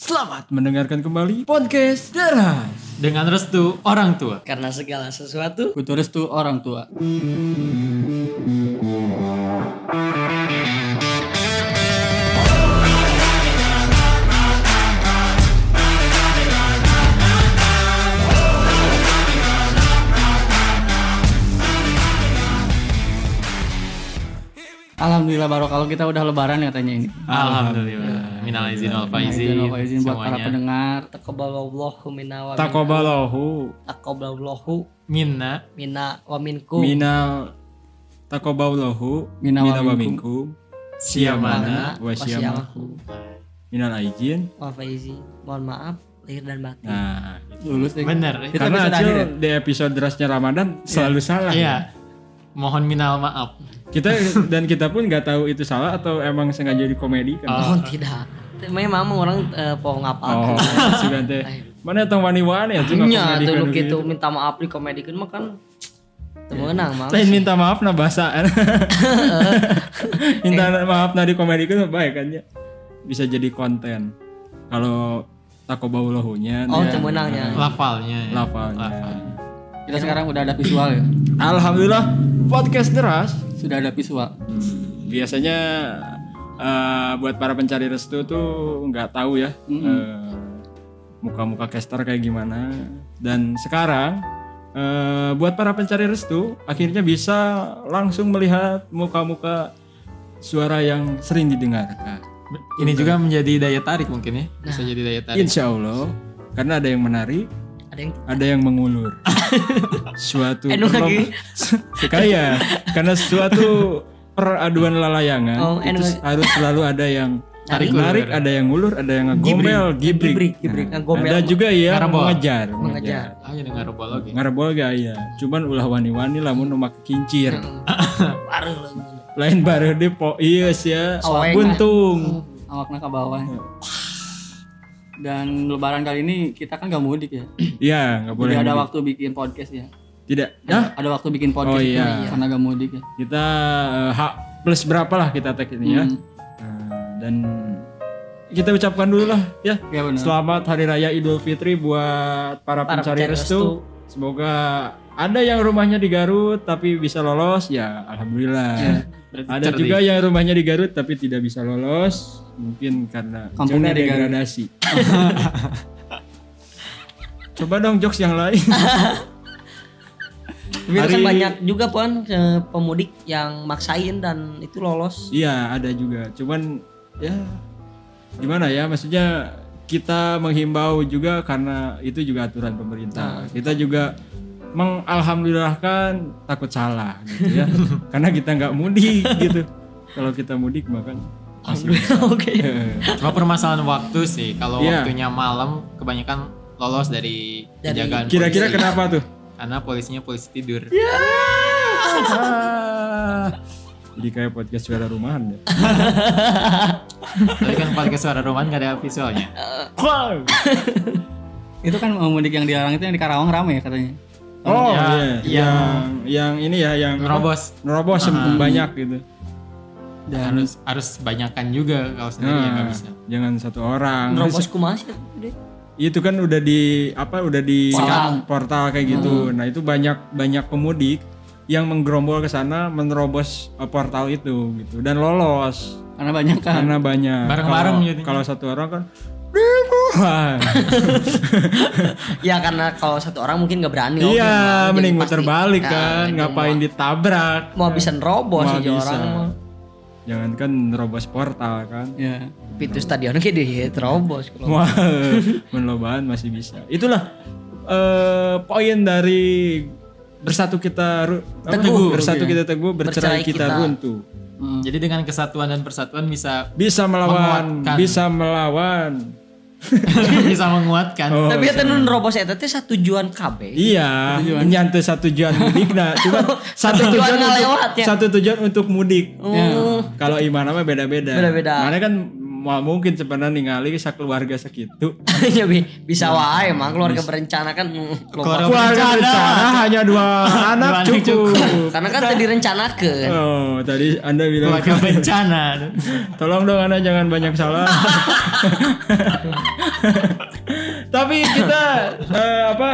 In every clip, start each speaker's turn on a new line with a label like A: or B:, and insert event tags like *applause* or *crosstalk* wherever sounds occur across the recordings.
A: Selamat mendengarkan kembali podcast Deras.
B: dengan restu orang tua.
C: Karena segala sesuatu
A: Kutu restu orang tua.
D: Alhamdulillah barokah kita udah lebaran katanya ini.
B: Alhamdulillah. Minal izin
C: Iya,
B: wal
D: Izin
B: faizin.
D: izin buat para
B: semuanya.
D: pendengar.
C: taqabbalallahu minna wa minna
A: Takobalahu
C: taqabbalallahu
B: Minna
C: minna wa minkum
A: minal takobalahu
D: Mina wa
A: wa
D: minkum.
A: minkum
B: siamana.
A: mana wa siyamaku. minal aijin.
C: wa faizi. Mohon maaf lahir dan batin. *laughs*
A: Nah, gitu.
D: Lulus deh.
B: Bener.
D: Kita
A: karena
D: episode
A: Acil
D: akhir ya?
A: di episode derasnya Ramadan selalu salah.
B: Iya. Mohon minal maaf.
A: Kita dan kita pun nggak tahu itu salah atau emang sengaja dikomedikan.
C: Oh, tidak. Memang orang eh, pohon apa?
A: *laughs* Oh, sugan teh. Mana tong wani-wani ya
C: Nya
A: komedikan
C: dulu
A: ya.
C: gitu minta maaf di komedikan mah kan temenang mah.
A: Lain minta maaf na bahasa. minta maaf na di komedi itu baik kan ya. Bisa jadi konten. Kalau takobaulahunya
C: Oh,
A: dia
C: temenangnya.
A: Iya.
B: Lafalnya. ya.
A: lafalnya.
D: Kita sekarang udah ada visual ya.
A: Alhamdulillah podcast deras.
D: Sudah ada visual.
A: Biasanya eh, buat para pencari restu tuh nggak tahu ya. eh, muka-muka caster kayak gimana dan sekarang eh, buat para pencari restu akhirnya bisa langsung melihat muka-muka suara yang sering didengarkan
B: Ini juga menjadi daya tarik mungkin ya. Bisa jadi daya tarik.
A: Insya Allah karena ada yang menarik
C: Ada yang
A: ada yang
C: *laughs*
A: mengulur suatu
C: Enu Eh, lagi.
A: perlom- kaya *laughs* karena suatu peraduan lelayangan
C: Oh, enu
A: itu harus selalu ada yang
B: Tarik
A: menarik,
B: ulur.
A: ada yang ngulur, ada yang ngegomel, gibrik,
C: Gibrik, gibrik, ngegomel.
A: ada juga yang
B: Ngarembol.
A: mengejar,
C: Mengejar.
B: Ah, jadi ngarobol lagi.
A: Ngarembol gaya, cuman ulah wani-wani lamun nu make kincir.
C: Hmm. baru lah.
A: Lain baru di po iya sih ya.
C: Aweng. Hmm.
A: Buntung.
D: Awaknya ke bawah.
A: Iya.
D: Dan lebaran kali ini kita kan gak mudik ya.
A: Iya, nggak boleh.
D: Jadi ada waktu bikin podcast ya.
A: Tidak. Hah?
D: Ada waktu bikin podcast
A: Oh, iya.
D: ya, karena gak mudik ya.
A: Kita eh, H plus berapa lah kita tag ini ya.
D: Hmm.
A: Eh, dan kita ucapkan dulu lah ya.
D: Ya benar.
A: Selamat Hari Raya Idul Fitri buat para,
C: Para
A: pencari,
C: pencari
A: restu. Semoga ada yang rumahnya di Garut tapi bisa lolos ya alhamdulillah.
B: berarti
A: ada
B: cerdik.
A: juga yang rumahnya di Garut tapi tidak bisa lolos mungkin karena
D: Kampungnya
A: zona
D: di Garut.
A: degradasi. *laughs* Coba dong jokes yang lain.
C: Tapi kan
A: Hari-
C: banyak juga pon eh, pemudik yang maksain dan itu lolos.
A: Iya ada juga. Cuman ya gimana ya maksudnya kita menghimbau juga karena itu juga aturan pemerintah. Kita juga mengalhamdulillahkan takut salah gitu *laughs* ya. karena kita nggak mudik gitu. Kalau kita mudik Iya. makan pasti
C: *laughs* Oke.
B: Cuma permasalahan waktu sih. Kalau
A: Iya.
B: waktunya malam kebanyakan lolos dari
C: Dari-
B: penjagaan
A: Kira-kira
B: polisi.
A: kenapa tuh?
B: Karena polisinya polisi tidur.
A: Iya. Ah, Jadi kayak podcast suara rumahan ya.
B: Tapi kan podcast suara roman gak ada visualnya.
D: Itu kan mau mudik yang dilarang itu yang di Karawang rame ya katanya.
A: Oh
B: Ya,
A: iya. yang yang ini ya yang
B: Nerobos.
A: nerobos yang banyak gitu.
B: Harus harus banyakan juga kalau sendiri ya nggak
A: Nah,
B: bisa.
A: Jangan satu orang.
C: Nerobos kumaha sih? Dek?
A: itu kan udah di apa udah di portal, kayak gitu. Nah, itu banyak banyak pemudik yang menggerombol ke sana menerobos eh, portal itu gitu dan lolos
D: Karena banyak kan.
A: karena banyak
B: Bareng-bareng
A: Kalau-
B: jadinya.
A: kalau satu orang kan "Ribuan."
C: Ya karena kalau satu orang mungkin nggak berani. oke,
A: iya
C: mah. Jadi
A: mending
C: pasti-
A: muter balik
C: Nah,
A: kan
C: itu
A: ngapain ditabrak
C: Mau bisa nerobos
A: Mau
C: aja
A: bisa.
C: orang mah.
A: jangan kan nerobos portal kan
D: Ya.
C: Pintu stadion kayak dia ya, terobos kalau.
A: Wah, *laughs* menloban masih bisa. Itulah eh, poin dari bersatu kita ru- apa?
C: Teguh.
A: bersatu kita teguh, ya. bercerai,
C: Bercerai
A: kita,
C: kita.
A: runtuh.
B: Jadi dengan kesatuan dan persatuan bisa *laughs*
A: Bisa melawan,
B: Menguatkan.
A: bisa melawan.
B: bisa menguatkan.
A: Oh,
C: Tapi eta nu nerobos eta teh satujuan KB.
A: Iya, nyantai satu tujuan mudik *laughs* nah, cuma satu
C: Tujuan
A: tujuan untuk,
C: ngelewat ya.
A: satu tujuan untuk mudik.
C: Hmm.
A: Kalau iman nama Uh. beda-beda.
C: Beda-beda.
A: Mana kan mau mungkin sebenarnya ningali keluarga segitu.
C: Ya, bi- bisa wae emang keluarga berencana kan mm,
B: Keluarga-
C: loba.
A: Iya. Keluarga rencana hanya *laughs* dua anak
B: anak
A: cukup.
C: karena kan tadi rencanakan
A: Oh, tadi Anda bilang
B: keluarga
A: *laughs*
B: bencana
A: Tolong dong Anda jangan banyak salah. Tapi kita eh, apa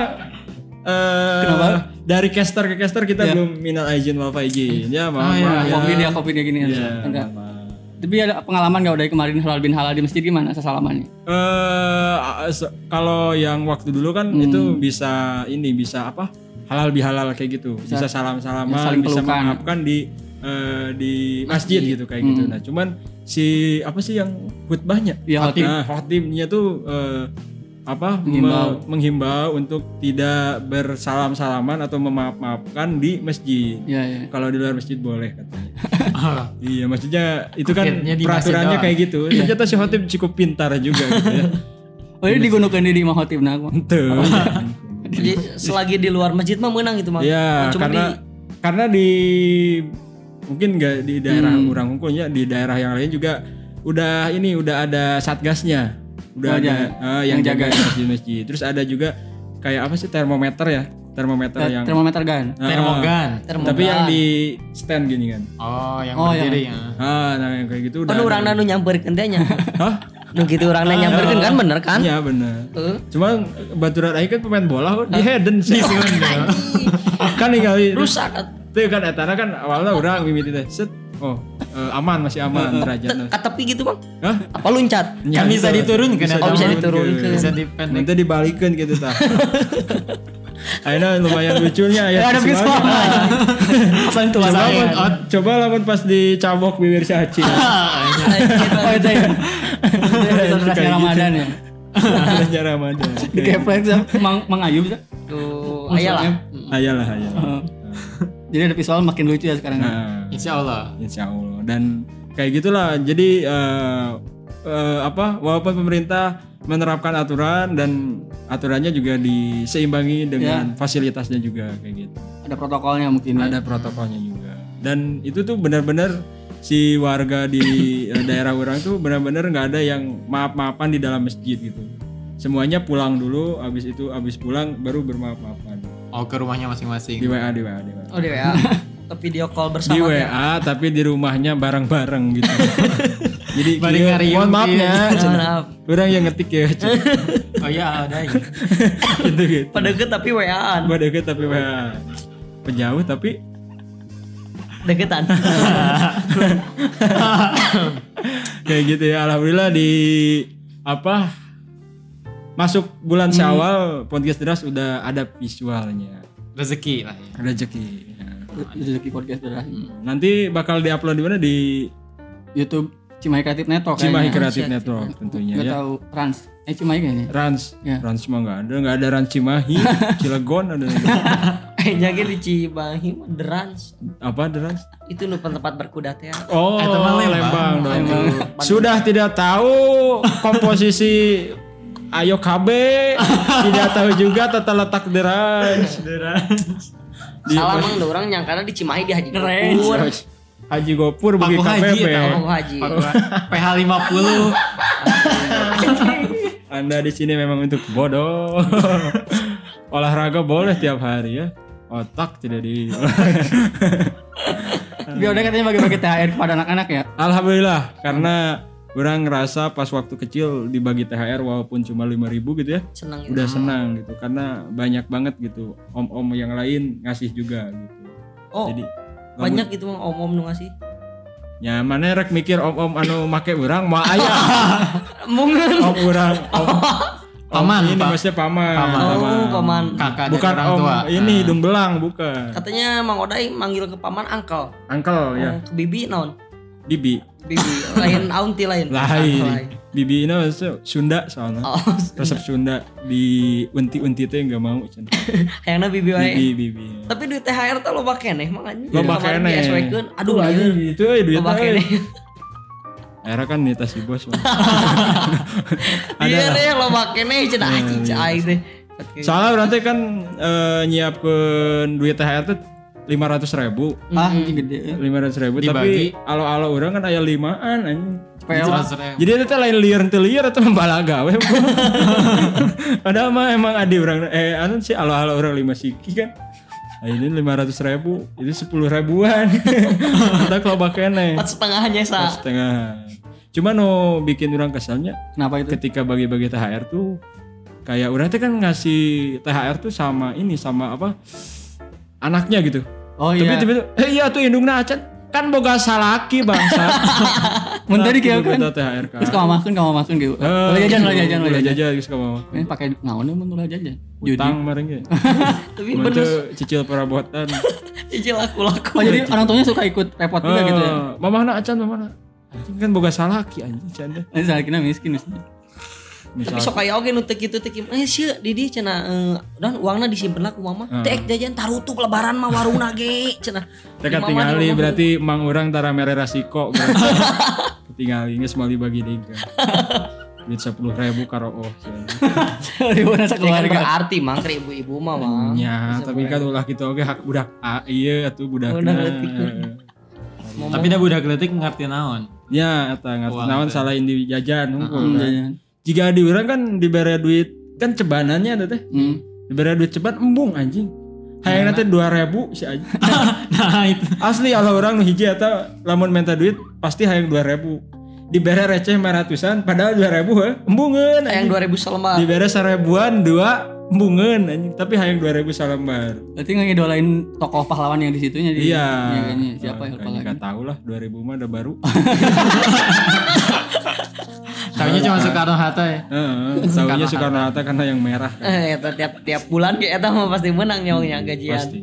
A: eh, dari caster ke caster kita belum minal aijin wal faizin. Ya, maaf. maaf ya.
D: Covid ya, Covid ya gini ya.
A: Iya,
D: Enggak.
A: maaf, maaf.
D: Tapi ada pengalaman gak dari kemarin halal bin halal di masjid gimana sesalamannya?
A: Eh, se- kalau yang waktu dulu kan itu bisa ini bisa apa halal bihalal kayak gitu bisa, salam salaman
D: saling
A: bisa
D: pelukan.
A: mengapkan di eh, di masjid, gitu kayak gitu nah cuman si apa sih yang khutbahnya
D: Iya, khotib.
A: Nah, khotibnya tuh eh, apa me-
D: Menghimbau.
A: menghimbau untuk tidak bersalam salaman atau memaaf maafkan di masjid
D: Iya, iya.
A: kalau di luar masjid boleh katanya Iya, maksudnya itu kan
B: Akhirnya di masjid
A: peraturannya
B: doang.
A: kayak gitu. Ternyata si Hotib cukup pintar juga gitu ya.
D: Oh, ini digunakan di Imam Khotib nah. aku.
A: Tuh.
C: jadi selagi di luar masjid mah menang *laughs* itu
A: Oh,
C: mah
A: Iya,
C: Oh, Cuma
A: karena
C: di-
A: karena di mungkin nggak di daerah Urang Hungkul ya, di daerah yang lain juga udah ini udah ada satgasnya.
D: Oh,
A: Udah ada
D: iya.
A: eh, yang, jaga masjid-masjid. Terus ada juga kayak apa sih termometer ya? Termometer yang
D: Termometer
A: *laughs*
D: gan.
A: Ah,
B: termogan
A: tapi yang di stand gini kan.
B: oh yang
D: Oh,
B: berdiri ya
A: Ah, nah yang kayak gitu udah.
C: kan orang nu nyamperkeun teh nya
A: *laughs* Hah?
C: nu gitu orang nyamperkeun kan bener kan
A: Iya benar.
C: Heeh.
A: Cuma baturan aing kan pemain bola di Hayden sih. *laughs* kan ningali
C: rusak atuh.
A: Teu kan etana kan awalnya urang mimiti teh. Set. Oh, eh, aman masih aman derajatna.
C: ke tepi gitu bang
A: Hah?
C: apa luncat
A: Ya,
B: Kan bisa diturunkan
A: Bisa
B: ya,
C: oh bisa
B: Taman.
C: diturunkan
B: bisa dipendek
A: Nanti dibalikeun gitu tah. Akhirnya lumayan lucunya ya.
D: Ada
A: visualnya.
D: Pesan tuh
A: Coba
D: saya.
A: lamun, oh, coba lamun pas dicabok bibir si Aci.
B: Ah,
A: iya.
C: *laughs*
D: Oh, itu ya.
A: Itu kayak gitu.
D: Itu Ramadan ya.
A: Adanya Ramadan.
D: Di ya. keplek Mang Mang Ayu
A: ya.
D: bisa.
C: Gitu. tuh ayalah
A: Ayalah, ayalah.
D: Heeh. Oh. Jadi ada visual makin lucu ya sekarang.
A: Iya. Nah,
B: insya Allah
A: Insya Allah dan kayak gitulah jadi eh, eh, apa walaupun pemerintah menerapkan aturan dan aturannya juga diseimbangi dengan fasilitasnya juga kayak gitu
D: Ada protokolnya mungkin. ya.
A: ada protokolnya juga dan itu tuh benar-benar si warga di eh, daerah orang tuh benar-benar nggak ada yang maaf-maafan di dalam masjid gitu semuanya pulang dulu abis itu abis pulang baru bermaaf-maafan
B: oh ke rumahnya
A: di
B: masing-masing
A: WA di WA di WA
C: oh di
A: *laughs*
C: WA ke video
A: di
C: call bersama
A: WA tapi di rumahnya bareng-bareng gitu. Jadi
B: Bareng
A: iya,
B: ngariung,
A: mohon maaf ya,
C: Mohon
A: Cen.
C: maaf.
A: orang yang ngetik ya, Cen.
B: oh ya ada ya.
A: gitu gitu.
C: pada deket tapi WA-an
A: Gua deket tapi WA. Penjauh tapi
C: deketan *laughs*
A: kayak gitu ya. Alhamdulillah di apa masuk bulan Syawal podcast deras udah ada visualnya
B: rezeki lah ya
A: rezeki. Ya.
D: Rezeki podcast darah.
A: Nanti bakal diupload di mana di
D: YouTube Cimahi Kreatif Network
A: Cimahi
D: kayaknya.
A: Kreatif Network tentunya
D: Gak
A: ya.
D: tahu Trans. Eh Cimahi kayaknya.
A: Rans,
D: Ya.
A: Rans mah nggak ada, nggak ada Rans Cimahi, Cilegon ada
C: kayaknya gitu di Cibahi mah derans
A: apa ada Rans?
C: itu nu tempat berkuda teh
A: Oh,
B: Eh, teman Lembang.
A: Lembang dong. Sudah tidak tahu komposisi Ayo KB, tidak tahu juga tata letak derans.
C: salah mang ada orang yang karena di Cimahi di Haji Gopur
A: Haji Gopur bagi
B: Paku Haji
A: KPP.
B: ya,
C: Mang Haji
A: *laughs*
B: PH 50
A: Anda di sini memang untuk
B: *laughs*
A: bodoh. Olahraga boleh tiap hari ya. Otak tidak di. *laughs* Iya.
D: Tapi udah katanya bagi-bagi THR kepada anak-anak ya.
A: Alhamdulillah karena orang ngerasa pas waktu kecil dibagi THR walaupun cuma 5000 gitu ya.
C: seneng gitu.
A: udah senang gitu karena banyak banget gitu om-om yang lain ngasih juga gitu
C: oh
A: jadi
C: banyak itu mang om om nu
A: *laughs*
C: ngasih
A: ya mana rek mikir om-om anu make urang mau ayah
C: mungkin
A: om urang om, om
B: Paman,
A: ini
B: pa-
A: maksudnya paman
B: paman.
A: paman.
C: oh paman
B: kakak
A: bukan
B: dari orang
A: om iya,
B: tua
A: ini hidung belang bukan
C: katanya mang Odai manggil ke paman angkel
A: angkel ya
C: ke bibi naon
A: bibi
C: Oh. bibi
A: *laughs*
C: lain auntie lain
A: lain bibi ini maksudnya Sunda soalnya
C: oh
A: resep Sunda di unti-unti teh nggak mau Cen.
C: kayaknya bibi wae
A: bibi bibi
C: tapi duit THR tuh lo pakai nih mang anjing
A: Loba
C: Kemarin
A: keneh.
C: Iya. di SW kan aduh
A: Tuh,
C: aja
A: itu eh
C: lo
A: duit
C: pakai
A: eh.
C: nih
A: Akhirnya kan nita si bos Bang.
C: iya deh lo pakai nih Ah, cina
A: Hmm.
C: cina deh
A: Soalnya berarti kan eh, nyiapkan duit THR tuh lima ratus ribu,
D: Ah, ini gede. ya.
A: lima ratus ribu.
B: Dibagi.
A: Tapi alo-alo orang kan ayah limaan anjing.
D: Pewa.
B: ya.
A: Jadi itu teh lain liar teu liar atau membalaga we. Padahal mah emang adi orang eh anu sih alo-alo orang lima siki kan. Nah, ini lima ratus ribu, itu sepuluh ribuan. Kita kalau pakai
C: Empat setengahnya sa.
A: setengah. Cuma no bikin orang keselnya
D: Kenapa itu?
A: ketika bagi-bagi THR tuh kayak orang teh kan ngasih THR tuh sama ini sama apa anaknya gitu.
D: Oh
A: tapi
D: iya.
A: tapi eh iya tuh indungna acan kan boga salaki bangsa.
D: *laughs* Menteri kieu kan.
A: Kita THR kan.
D: Terus kamu makan, kamu makan gitu. Ulah jajan, ulah jajan, ulah
A: ulah
D: jajan.
A: Eh, jajan geus ka mama.
D: Ini pakai naonnya mun ulah jajan. Judi.
A: Utang bareng
D: *laughs*
A: ge.
C: Tapi
A: Mun
C: bener
A: teu cicil perabotan.
C: cicil aku laku.
D: Oh jadi orang tuanya suka ikut repot juga gitu ya.
A: Mama na acan mama na. Anjing kan boga salaki anjing canda.
D: Ini salah kena miskin *laughs* misalnya.
C: Tapi
A: Misal
C: sok aya oge nu teu kitu teu kieu. Eh sia Didi cenah eh, dan uangna disimpen lah ku mama.
A: Hmm.
C: Tek jajan tarutuk lebaran mah warungna ge cenah.
A: teka
C: Di mama
A: tingali
C: di rumah.
A: berarti mang urang tara mere rasiko. Tingali geus mali bagi diga. Duit 10.000 karo oh. cenah.
D: Ribuan asa
C: Ini kan
D: keluarga.
C: berarti mang ke ibu-ibu mah mang.
A: Nya, tapi kan ulah kita oge hak budak A ieu atuh budakna.
C: Budak
A: *laughs*
C: leutik.
B: Tapi dah budak letik ngerti naon.
A: Nya Ya, eta ngarti
B: Uang
A: naon
B: teh.
A: salah di jajan
D: Hmm,
A: hungkul. kan.
D: jajan.
A: Jika di urang kan dibere duit kan cebanannya ada teh.
D: Hmm.
A: Diberi duit cepat embung anjing. Hayang nanti dua ribu si anjing.
B: nah itu.
A: Asli kalau orang nu hiji atau lamun minta duit pasti hayang dua ribu. Diberi receh mah ratusan padahal dua ribu he embungeun anjing.
C: Yang 2000 selama.
A: Diberi seribuan dua embungeun anjing tapi hayang dua ribu salembar.
D: Berarti ngidolain tokoh pahlawan yang di situnya di-
A: Iya.
D: kayaknya. Siapa ya lupa lagi.
A: Enggak tahu lah 2000 mah udah
D: *laughs*
A: baru.
B: Taunya
A: Iya.
B: cuma Soekarno Hatta ya.
A: Heeh. Tahunya Soekarno Hatta karena yang merah kan
C: Eh, eta tiap tiap bulan ge eta mah pasti menang nyawanya gajian.
A: pasti.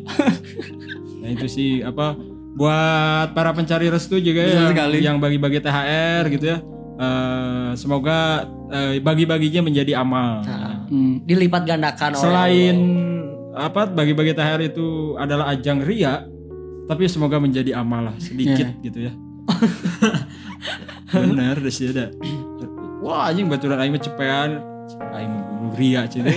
A: Nah itu sih apa buat para pencari restu juga
D: Betul
A: ya
D: sekali.
A: yang bagi-bagi THR gitu ya. Eh, semoga eh, bagi-baginya menjadi amal.
D: Hmm.
C: *laughs* Dilipat gandakan oleh
A: Selain apa bagi-bagi THR itu adalah ajang ria, tapi semoga menjadi amal lah sedikit gitu ya. Benar deh sih ada. Wah anjing baturan aing mah cepean, aing mah bulu ria cina.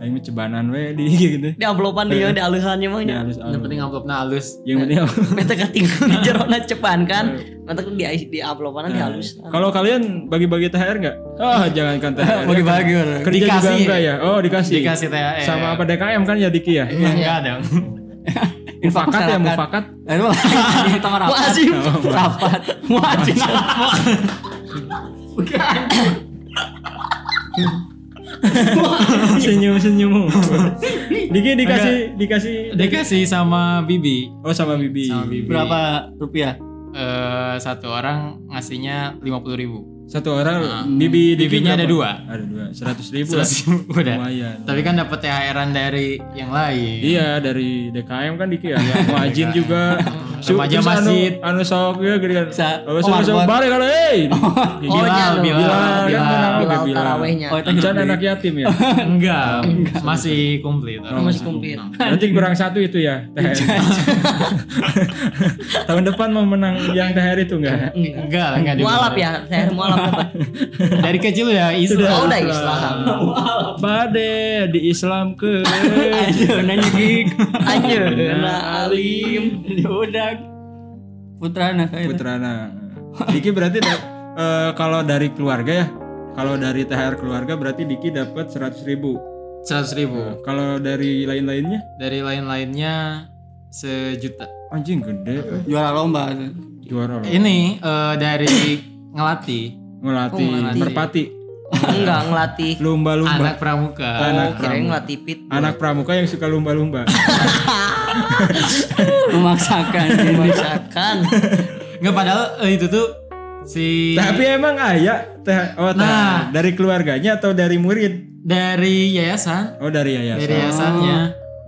A: Aing mah cebanan we di *laughs* gitu.
C: di amplopan dia di alusannya
A: Ya,
C: mah nya.
A: harus-
B: Yang penting amplopnya halus.
A: yang penting
C: Mata katinggal
A: *laughs*
C: di jerona cepan kan.
A: Iya.
C: Mata di di amplopan di halus.
A: Kalau kalian bagi-bagi THR nggak? Ah, jangankan THR.
D: Bagi-bagi orang.
A: Kerja
B: Dikasih.
A: juga enggak ya? Oh, dikasih.
B: Dikasih THR. Eh,
A: Sama apa DKM kan ya Diki ya?
B: Enggak dong.
A: Mufakat
D: masyarakat.
A: ya, mufakat.
D: Eh,
A: *laughs*
D: lu di tengah rapat.
C: Wajib. *laughs*
D: Rapat.
C: Wajib.
A: Senyum-senyum. Diki dikasih dikasih
B: Dikasih sama Bibi.
A: Oh, sama Bibi.
B: Sama Bibi.
D: Berapa rupiah?
B: Eh, satu orang ngasihnya lima puluh ribu.
A: Satu orang Bibi
B: Ah, hmm.
A: Diki
B: Bibinya ada
A: berapa?
B: dua.
A: Ada dua. Seratus ribu. lah.
B: Seratus ribu *laughs* udah.
A: Lumayan.
B: Tapi kan dapat THR-an dari yang lain.
A: Iya dari DKM kan Diki ya, Muajin juga.
B: Iya, Remaja
A: Terus anu-
B: masjid.
A: Anu sok ya gede kan.
D: Sa-
A: Oh,
D: Omar,
A: sok
D: Omar.
A: bare kalau
B: *laughs*
A: eh.
B: Oh, Bilal, Bilal,
A: Bilal, kan
C: lu.
B: Bilal.
A: kenal
C: Bilal
A: Bibi Bilal.
C: tarawehnya.
D: Oh, itu
A: Can anak
B: *laughs*
A: yatim ya.
B: *laughs* Enggak, masih komplit.
A: Oh,
C: Masih kumplit.
A: Nanti kurang satu itu ya THR. *laughs* Tahun depan mau menang yang THR itu
B: *laughs*
A: enggak?
B: Enggak lah, enggak juga.
C: Mualaf ya, saya mualaf dapat.
B: Dari kecil
A: *laughs*
B: ya
C: Oh,
B: Islam.
C: udah Islam.
A: Bade di Islam ke.
D: Aduh, nanya gig.
C: *laughs*
A: gitu.
C: Anjir, nah *laughs* alim.
D: Udah. Putra anak saya.
A: *laughs* Putrana. Diki berarti da- eh, kalau dari keluarga ya. Kalau dari THR keluarga berarti Diki dapat 100.000 ribu.
B: Seratus ribu.
A: Kalau dari lain-lainnya
B: Dari lain-lainnya sejuta.
A: anjing gede
D: Juara lomba.
A: juara loh.
B: Ini eh, dari
A: *coughs*
B: ngelatih
A: Ngelatih,
C: Oh, ngelatih.
A: merpati,
C: Enggak ngelatih.
A: lumba-lumba.
B: anak eh, pramuka.
A: Anak
C: Oh, kirain
A: pramuka.
C: ngelatih pit.
A: Anak pramuka yang suka lumba-lumba. *laughs*
D: Memaksakan. ini.
C: Misalkan
B: Nggak padahal eh, itu tuh si
A: Tapi emang ayah teh oh, teh-
B: Iya. Nah.
A: dari keluarganya atau dari murid?
B: dari yayasan,
A: Oh dari
B: dari ya-
A: yayasan.
B: yayasannya.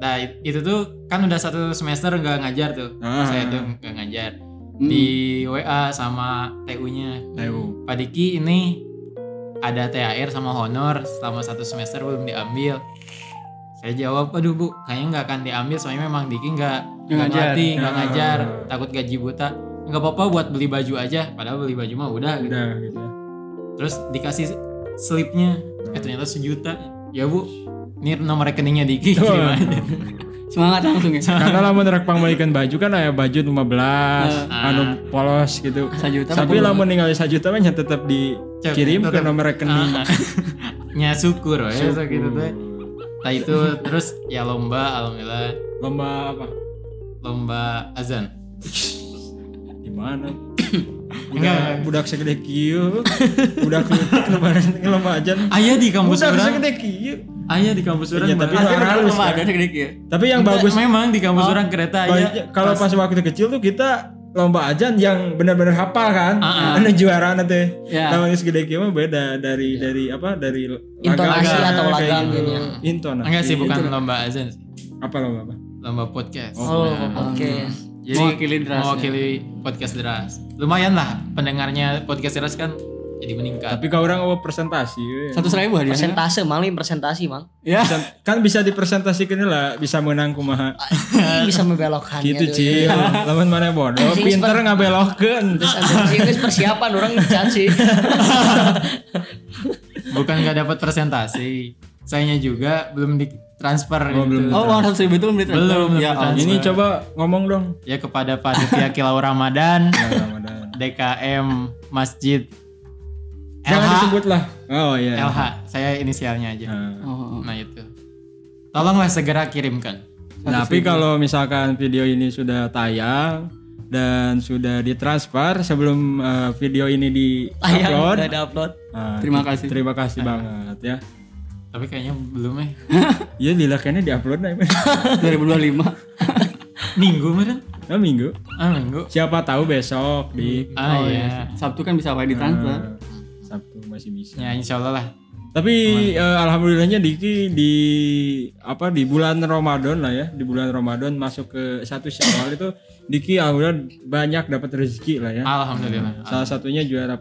B: Nah i- itu tuh kan udah satu semester nggak ngajar tuh.
A: Ah.
B: Saya tuh nggak ngajar
D: Hmm,
B: di WA sama TU-nya.
A: Tahu.
B: Pak Diki ini ada THR sama honor selama satu semester belum diambil. Saya jawab, aduh bu, kayaknya nggak akan diambil soalnya memang Diki nggak nggak
D: ngajar.
B: ngelatih, nggak
A: Ah.
B: ngajar, takut gaji buta. Nggak apa-apa buat beli baju aja, padahal beli baju mah udah. gitu.
A: Udah gitu ya.
B: Terus dikasih slipnya, eh ternyata sejuta. Ya bu, ini nomor rekeningnya Diki. kirim aja.
D: Semangat langsung ya.
A: karena lamun rek pangmalikeun baju kan aya baju 15 anu polos gitu
D: Sajuta
A: tapi lamun ningali sajuta mah nya tetep dikirim ke
B: tetep. Ah.
A: nomor rekening
B: *laughs* nya syukur ya gitu teh Tah itu terus ya lomba alhamdulillah
A: lomba apa
B: lomba azan
A: di mana
B: Enggak,
A: budak, budak segede kieu budak leutik lebaran lomba ajan
B: ayah di kampus
A: budak
B: orang
A: segede kieu
B: ayah di kampus orang
A: Iya, tapi
B: malah.
A: Orang halus,
D: Rumah
A: kan?
D: ada segede ya.
A: tapi yang bagus Oh,
B: memang di kampus orang kereta iya.
A: Banyak-
B: ayah
A: kalau pas waktu kecil tuh kita lomba ajan yang benar-benar hafal kan
B: Ah, ah.
A: ada juara nanti
D: Ya.
A: namanya segede kieu mah beda dari dari apa dari
C: Intonasi
A: lagang,
C: atau
A: kayak
C: lagang
A: gitu.
C: gitu ya.
A: intonasi
B: enggak sih bukan
A: Itu.
B: lomba azan sih.
A: apa lomba apa
B: lomba podcast
C: Oh,
B: Nah,
C: oke.
A: Hmm.
B: jadi
D: Mewakili Deras, ya.
B: mewakili podcast deras lumayan lah pendengarnya podcast deras kan jadi meningkat
A: tapi kalau orang mau presentasi we.
D: Satu seribu hadiahnya.
C: Persentase, maling persentasi,
A: *laughs*
C: Mang.
D: Ya.
A: Bisa- kan bisa dipresentasikan lah bisa menang kumaha
C: Ah, Ih, bisa membelokkan ya.
A: gitu cil lamun mana bodoh
B: *laughs*
C: Anjing,
A: pinter ngabelokeun
C: Ini persiapan orang ngecat
A: *laughs*
C: sih.
B: bukan nggak dapat presentasi sayangnya juga belum ditransfer
A: Oh, belum
B: gitu.
D: Oh, uang satu seribu itu belum ditransfer.
B: Belum, belum
D: Ya,
B: ditransfer.
A: ini coba ngomong dong
B: ya kepada
A: *laughs*
B: panitia kilau ramadan
A: Ya, Ramadan.
B: DKM masjid
A: jangan
B: LH
A: disebut lah oh iya
B: LH saya inisialnya aja
A: Nah.
D: Allah. Oh, oh.
B: nah itu tolonglah segera kirimkan
A: Tapi kalau misalkan video ini sudah tayang dan sudah ditransfer sebelum eh, video ini
C: Ayang udah
A: di-upload,
C: ada upload.
A: nah,
D: Terima
A: di-
D: kasih.
A: Terima kasih banget ya.
B: tapi kayaknya
A: *laughs*
B: belum ya
A: Iya lila kayaknya di-upload nah, Iman.
D: 2025.
B: minggu meren
A: Nah, minggu.
B: ah minggu
A: Siapa tahu besok di
B: ah
D: Oh,
B: iya
D: iya. *laughs* Sabtu kan bisa wae ditransfer.
A: eh, Sabtu masih bisa.
B: ya insya Allah lah
A: Tapi eh, alhamdulillahnya Diki di apa di bulan Ramadan lah ya, di bulan Ramadan masuk ke satu Syawal itu Diki alhamdulillah banyak dapat rezeki lah
B: Ah.
A: ya.
B: alhamdulillah
A: Salah satunya juara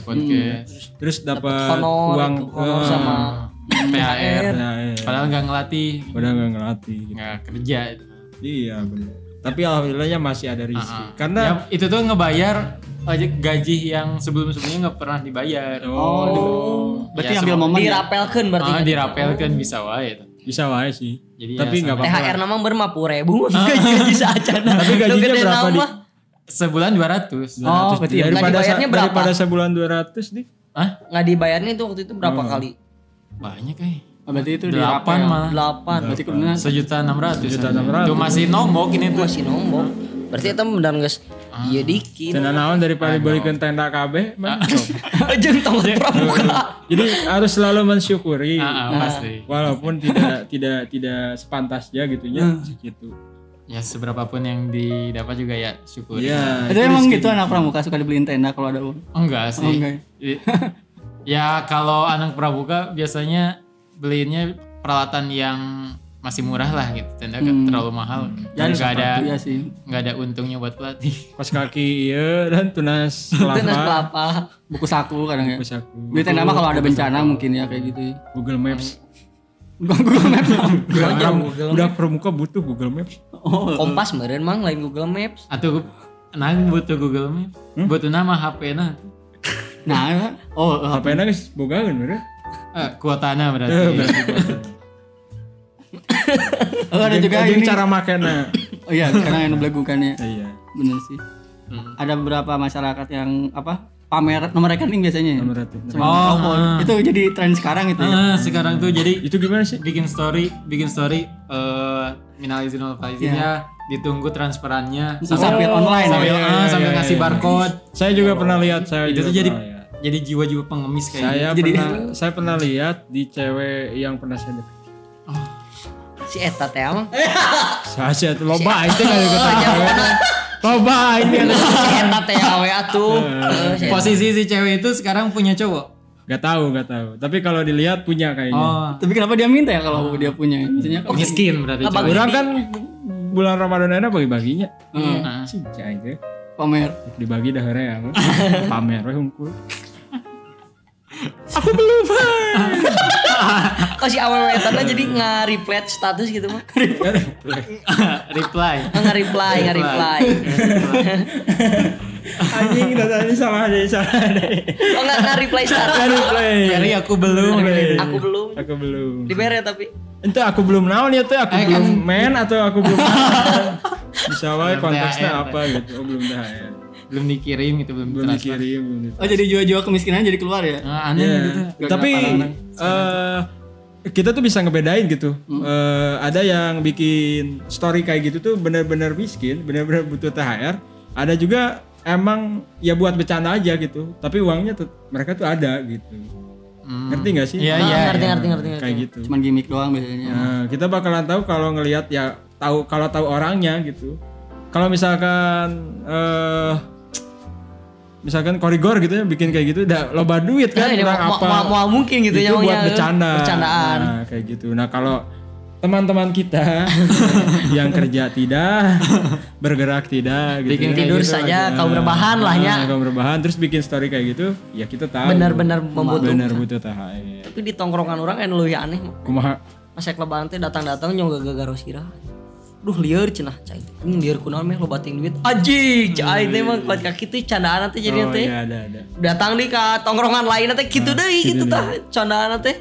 B: ada podcast
A: terus dapat
C: Dapat honor,
A: uang eh,
C: itu honor sama
A: Hmm.
B: THR
A: nah, ya.
B: padahal nggak ngelatih
A: udah nggak ngelatih gitu.
B: nggak kerja Ah,
A: iya benar tapi alhamdulillahnya masih ada rizki karena
B: ya, itu tuh ngebayar aja gaji yang sebelum sebelumnya nggak pernah dibayar
A: oh,
D: Berarti
B: Ya,
D: ambil
B: sama-
D: momen ya?
C: dirapelkeun berarti. kan?
B: ah, dirapelkan bisa wae itu.
A: bisa wae sih
B: Jadi ya
A: tapi nggak apa-apa
C: THR nama berma puluh ribu
A: *laughs*
C: gaji saacana.
A: Tapi gajinya
C: Nu gede
A: berapa,
C: nama.
A: Dik?
B: sebulan 200
D: Oh, berarti ya.
A: daripada
C: Nah, dibayarnya
A: sa-
C: berapa?
A: daripada sebulan 200 nih
B: ah
C: Nggak dibayarnya itu waktu itu
A: Oh.
C: berapa kali?
B: banyak eh
D: Oh, Berarti itu di
B: delapan malah
C: Delapan.
D: Berarti kurangnya
B: sejuta enam ratus
A: Sejuta enam ratus.
B: itu masih nombok ini
D: *laughs*
B: tuh
C: Masih nombok. Berarti itu benar guys. Iya dikit. *laughs*
A: dan naon daripada balikin tenda KB mah.
C: Jeung tongkat pramuka.
A: *laughs* jadi harus selalu
B: ah,
A: mensyukuri
B: ah,
D: Nah.
B: pasti
A: walaupun tidak tidak tidak sepantasnya gitu ya gitu
B: ya seberapapun yang didapat juga ya syukur
A: iya
D: Itu emang gitu anak pramuka suka dibeliin tenda kalau ada uang.
B: enggak sih
D: Enggak.
B: I- ya kalau anak pramuka biasanya beliinnya peralatan yang masih murah lah gitu tenda nggak terlalu mahal
D: Ya,
B: dan nggak ada
D: Iya sih.
B: nggak ada untungnya buat pelatih *laughs*
A: kos kaki iya dan tunas
C: Tenas
A: kelapa
C: kelapa.
D: Buku saku kadang ya.
A: Kos aku.
D: Beli tenda mah kalau ada bencana mungkin ya kayak gitu. ya.
A: Google Maps
D: Google Maps.
A: Udah udah permuka butuh Google Maps.
D: Oh.
C: Kompas meureun mang lain Google Maps.
B: atau nang butuh Google Map
D: Hmm?
B: butuh nama HP nah
D: Nah, oh, oh,
A: Apa enak guys? Bogangan bener.
B: eh, kuotana berarti
D: oh, ada juga
A: Jeung
D: ini.
A: cara makena.
D: Oh iya, karena yang belagukannya.
A: *coughs* Iya.
D: Bener sih. Ada beberapa masyarakat yang apa? Pamer nomor rekening biasanya. ya?
A: Nomor rekening.
D: Sama telepon. Itu jadi tren sekarang itu. ya.
B: Oh, Ah, sekarang tuh jadi
A: Itu gimana sih?
B: bikin story bikin story eh minal izin wal faizin
A: Iya.
B: ya ditunggu transferannya sambil
D: Musafir online. ya.
B: sambil,
A: iya,
B: ah, sambil ngasih barcode
A: Saya juga pernah lihat saya
B: itu
A: juga
B: tuh jadi
A: pernah lihat.
B: jadi jiwa-jiwa pengemis kayak
A: Iya,
B: gitu.
A: saya
D: Jadi-
A: pernah saya pernah lihat di cewek yang pernah saya deketin.
C: Si eta teh mang.
A: Saya sih itu loba itu enggak deketin
D: *laughs*
C: Iya,
A: cewek. Loba ini ada.
C: Si eta teh awe atuh. Eh, si
B: gitu.
C: eta.
B: posisi si cewek itu sekarang punya cowok
A: Enggak tahu, enggak tahu. Tapi kalau dilihat punya kayaknya.
B: oh
D: Tapi kenapa dia minta ya
B: Ah.
D: kalau dia punya? Misalnya kalau
B: miskin berarti *laughs*
C: Abang-
B: cowok
A: Orang kan bulan Ramadan enak bagi-baginya.
D: Hmm,
B: Ah.
A: Cing, cai ge.
D: *laughs* pamer.
A: dibagi dah
D: *laughs*
A: ya pamer we hungkul.
C: Oh si awe eta teh jadi nge-reply status gitu mah.
B: reply
C: Nge-reply,
B: Reply.
C: nge-reply.
A: Anjing data ini sama aja salah deh.
C: Oh enggak enggak reply
A: Nggak
C: status.
A: replay.
B: Ferry aku belum
A: Replay.
C: Aku belum.
A: Aku belum.
C: Dibere tapi.
A: Ente aku belum naon ya teh aku
B: Eh,
A: belum
B: kan-
A: men atau aku
B: *laughs*
A: belum. Bisa
B: Belum
A: wae
B: THR.
A: konteksnya apa gitu. Oh belum THR.
B: belum dikirim itu belum,
A: Belum
B: transfer.
A: dikirim, belum di-
D: Oh jadi jual-jual kemiskinan jadi keluar ya?
B: Ah, aneh
A: Iya.
B: gitu
A: Tapi eh kita tuh bisa ngebedain gitu.
B: Hmm.
A: Eh, ada yang bikin story kayak gitu tuh benar-benar miskin, benar-benar butuh THR. Ada juga emang ya buat bercanda aja gitu. Tapi uangnya tuh mereka tuh ada gitu. Ngerti nggak sih?
B: Iya,
C: Ah,
B: iya.
C: ngerti, ngerti, ngerti, ngerti.
A: Kayak gitu.
D: Cuman gimmick doang biasanya.
A: Nah, kita bakalan tahu kalau ngelihat ya tahu kalau tahu orangnya gitu. Kalau misalkan eh misalkan korigor gitu ya bikin kayak gitu udah loba duit
C: Ya,
A: kan
C: ini
A: kurang
C: mau,
A: apa.
C: mau, mau mungkin gitu
A: itu
C: ya
A: buat
C: maunya.
A: bercanda.
C: Bercandaan.
A: Nah, kayak gitu. Nah, kalau teman-teman
C: *laughs*
A: kita yang kerja tidak, bergerak tidak gitu.
B: Bikin
A: ya.
C: tidur
A: Gitu
C: saja,
A: aja.
C: kaum rebahan lah, ya.
A: Nah, kaum rebahan terus bikin story kayak gitu, ya kita tahu.
C: Benar-benar membutuhkan.
A: Benar butuh THR.
C: Tapi di tongkrongan orang kan leuwih aneh. mah.
A: Kumaha?
C: Mas Ek lebaran teh datang-datang nyong gagal garosira. Duh liar cenah cai. Ini liar kunaon meh lo bating duit. Anjing, cai teh mah kuat kaki teh candaan teh jadi
A: Oh,
C: teh.
A: iya Ah, ada ada.
C: datang di ke tongkrongan lain teh gitu deh gitu tah candaan teh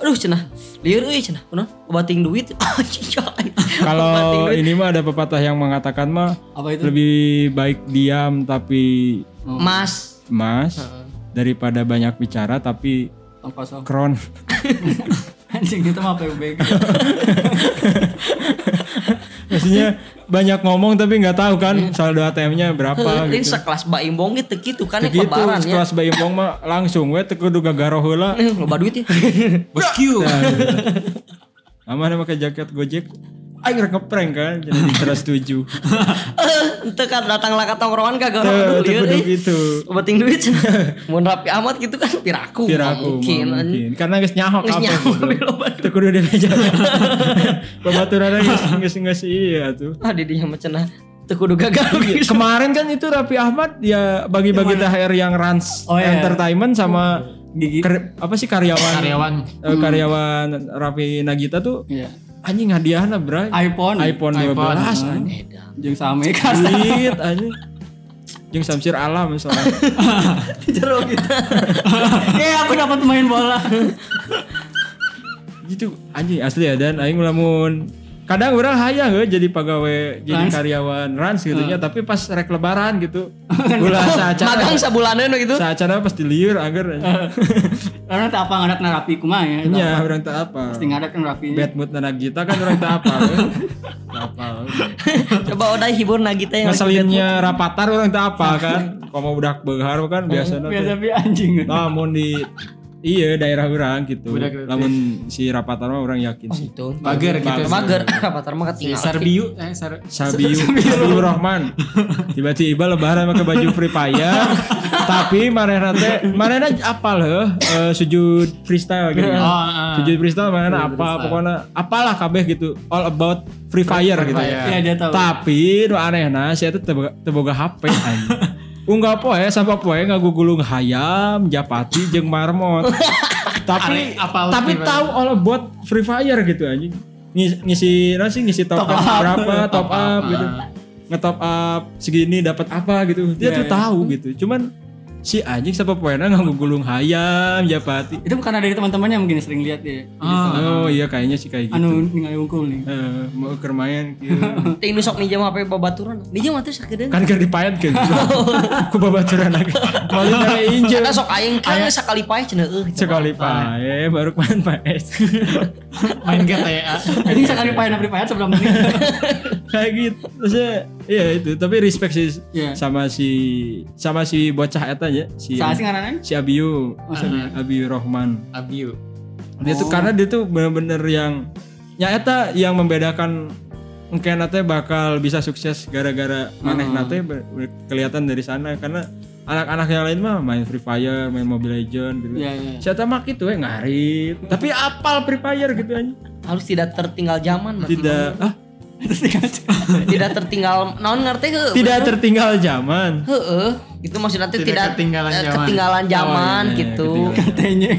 C: aduh cenah liar euy cenah kunaon bating duit *laughs* Anjing, cai. Bating
A: Kalau
C: duit.
A: ini mah ada pepatah yang mengatakan mah
D: Apa itu?
A: lebih baik diam tapi
C: mas
A: emas daripada banyak bicara tapi
D: Tong kosong.
A: kron.
D: *laughs*
A: *laughs*
D: Anjing itu mah ya,
B: *laughs*
D: PUBG.
A: Maksudnya banyak ngomong tapi nggak tahu kan saldo ATM-nya berapa
C: ini
A: gitu.
C: sekelas Mbak Imbong gitu gitu kan ya
A: Gitu
C: lebaran ya
A: kelas bayi pong mah langsung we teu kudu gagaro heula.
C: Eh, loba duit ya
B: bos Q
A: Aman nama ke jaket Gojek. Aing rek ngeprank kan jadi di teras
C: *laughs*
A: tujuh.
C: Ente kan datang lah ke tongkrongan kagak
A: Teu
C: orang
A: teu
C: liar
A: kudu
C: eh.
A: gitu.
C: Bating duit *laughs* cenah. Mun rapi amat gitu kan piraku.
A: Piraku
C: mungkin.
A: mah mungkin. Karena geus nyahok apa
C: Geus nyahok, *laughs*
A: gitu. Teu kudu di meja. Babaturanna geus geus geus iya tuh.
C: Ah di dia mah cenah teu kudu gagal. *laughs* gitu.
A: Kemarin kan itu Raffi Ahmad ya bagi-bagi THR yang Rans
D: Oh, iya. Oh,
A: Entertainment sama
D: Gigi. Hmm.
A: kar- apa sih karyawan
B: karyawan
A: eh, karyawan Raffi Nagita tuh
D: Iya.
A: anjing hadiahnya bray
D: iPhone. ya,
A: iPhone 12
B: iPhone.
A: anjing.
C: Edan.
D: Jeung same
B: *laughs*
D: kas.
A: duit anjing jeung Samsir Alam
D: *laughs*
A: misalnya
C: Jero gitu.
D: Eh aku dapat main bola. *laughs*
A: gitu anjing asli ya dan aing lamun kadang orang hayang eh, jadi pegawai
D: Rans.
A: jadi
D: Ah.
A: karyawan Rans gitu nya tapi pas rek lebaran
D: *laughs*
A: gitu ulah saacara
C: Magang sabulanan gitu.
A: saacara pas diliur agar
D: Ah. Karena tak apa ngadak narapi kumaha ya.
B: Iya.
D: tak
A: nya
D: apa.
A: orang tak apa
D: Pasti kan ngadak narapinya.
A: bad mood anak kita kan orang tak apa tak apa
C: Coba udah hibur Nagita yang lagi
A: ngeselinnya rapatar orang tak apa kan kalau budak behar kan biasanya
D: Biasa
A: tuh
D: bi anjing.
A: namun di iya daerah orang gitu
B: Budak itu.
A: namun si rapatar mah orang yakin sih
C: gitu.
B: Bager gitu.
C: Mager. *laughs* Rapatar mah
B: si
C: ketinggalan.
B: Sarbiu eh Sar
A: Sabiu, Sabiu Rahman tiba-tiba lebaran pakai baju free fire tapi marena teh marena apal heuh eh, sujud freestyle gitu
B: oh, ah.
A: sujud freestyle marena apa pokoknya apalah kabeh gitu all about free fire gitu
B: Fire.
D: Iya dia tahu.
A: Tapi nu anehna sia teh teu boga- teu boga HP anjing. Unggah poe sampai poe ngagugulung hayam, japati jeung marmot.
B: Are-
A: tapi
B: apal Free
A: tapi
B: Fire.
A: tahu all buat Free Fire gitu anjing. Ngisi, ngisi nasi ngisi top, up, berapa,
B: up,
A: top, up, gitu.
B: ah.
A: Ngetop up segini dapat apa gitu. Dia
D: Iya,
A: tuh
D: iya.
A: tahu gitu. Cuman si anjing sampai poena ngagugulung hayam, japati.
D: Itu bukan dari teman-temannya mungkin sering lihat dia.
A: Oh, iya kayaknya sih kayak gitu.
D: Ah. Anu ningali wungkul nih.
A: Eh, mau ke main kieu.
C: Teh nu sok minjem HP babaturan. Minjem atuh sakedeun.
A: kan keur dipayat kan ku babaturan lagi malu dari injil
C: Karena sok aing kan sakali pae cenah eh. eueuh.
A: sekali pae baru Eh, main paes
B: main
A: *laughs*
B: GTA
D: Jadi
B: *laughs*
D: sekali pahin free fire sebelum ini.
B: Iya.
A: kayak gitu maksudnya iya itu tapi respect sih
D: Iya.
A: sama si sama si bocah eta ya si
D: Salah sih
B: *laughs*
D: ngaranana?
A: si Abiu Abiu Rohman
B: Abiu
A: dia
D: Oh.
A: tuh karena dia tuh bener-bener yang ya eta yang membedakan mungkin nate bakal bisa sukses gara-gara
D: Hmm.
A: maneh nate ber- ber- kelihatan dari sana karena anak-anak yang lain mah main Free Fire, main Mobile Legend gitu.
D: Iya, iya.
A: Saya mah gitu ya ngarit, tapi apal Free Fire gitu aja.
D: *laughs*
C: Harus tidak tertinggal
A: *laughs*
C: zaman, Mat.
A: Tidak ah,
C: tidak tertinggal naon ngerti eh? heuh.
A: tidak tertinggal zaman.
C: Heeh, itu maksudnya teh
B: Tidak
C: tidak
B: ketinggalan
C: eh,
B: zaman.
C: ketinggalan zaman gitu.
A: Ya,
D: *laughs*
A: Ketinggalan.
D: Katanya.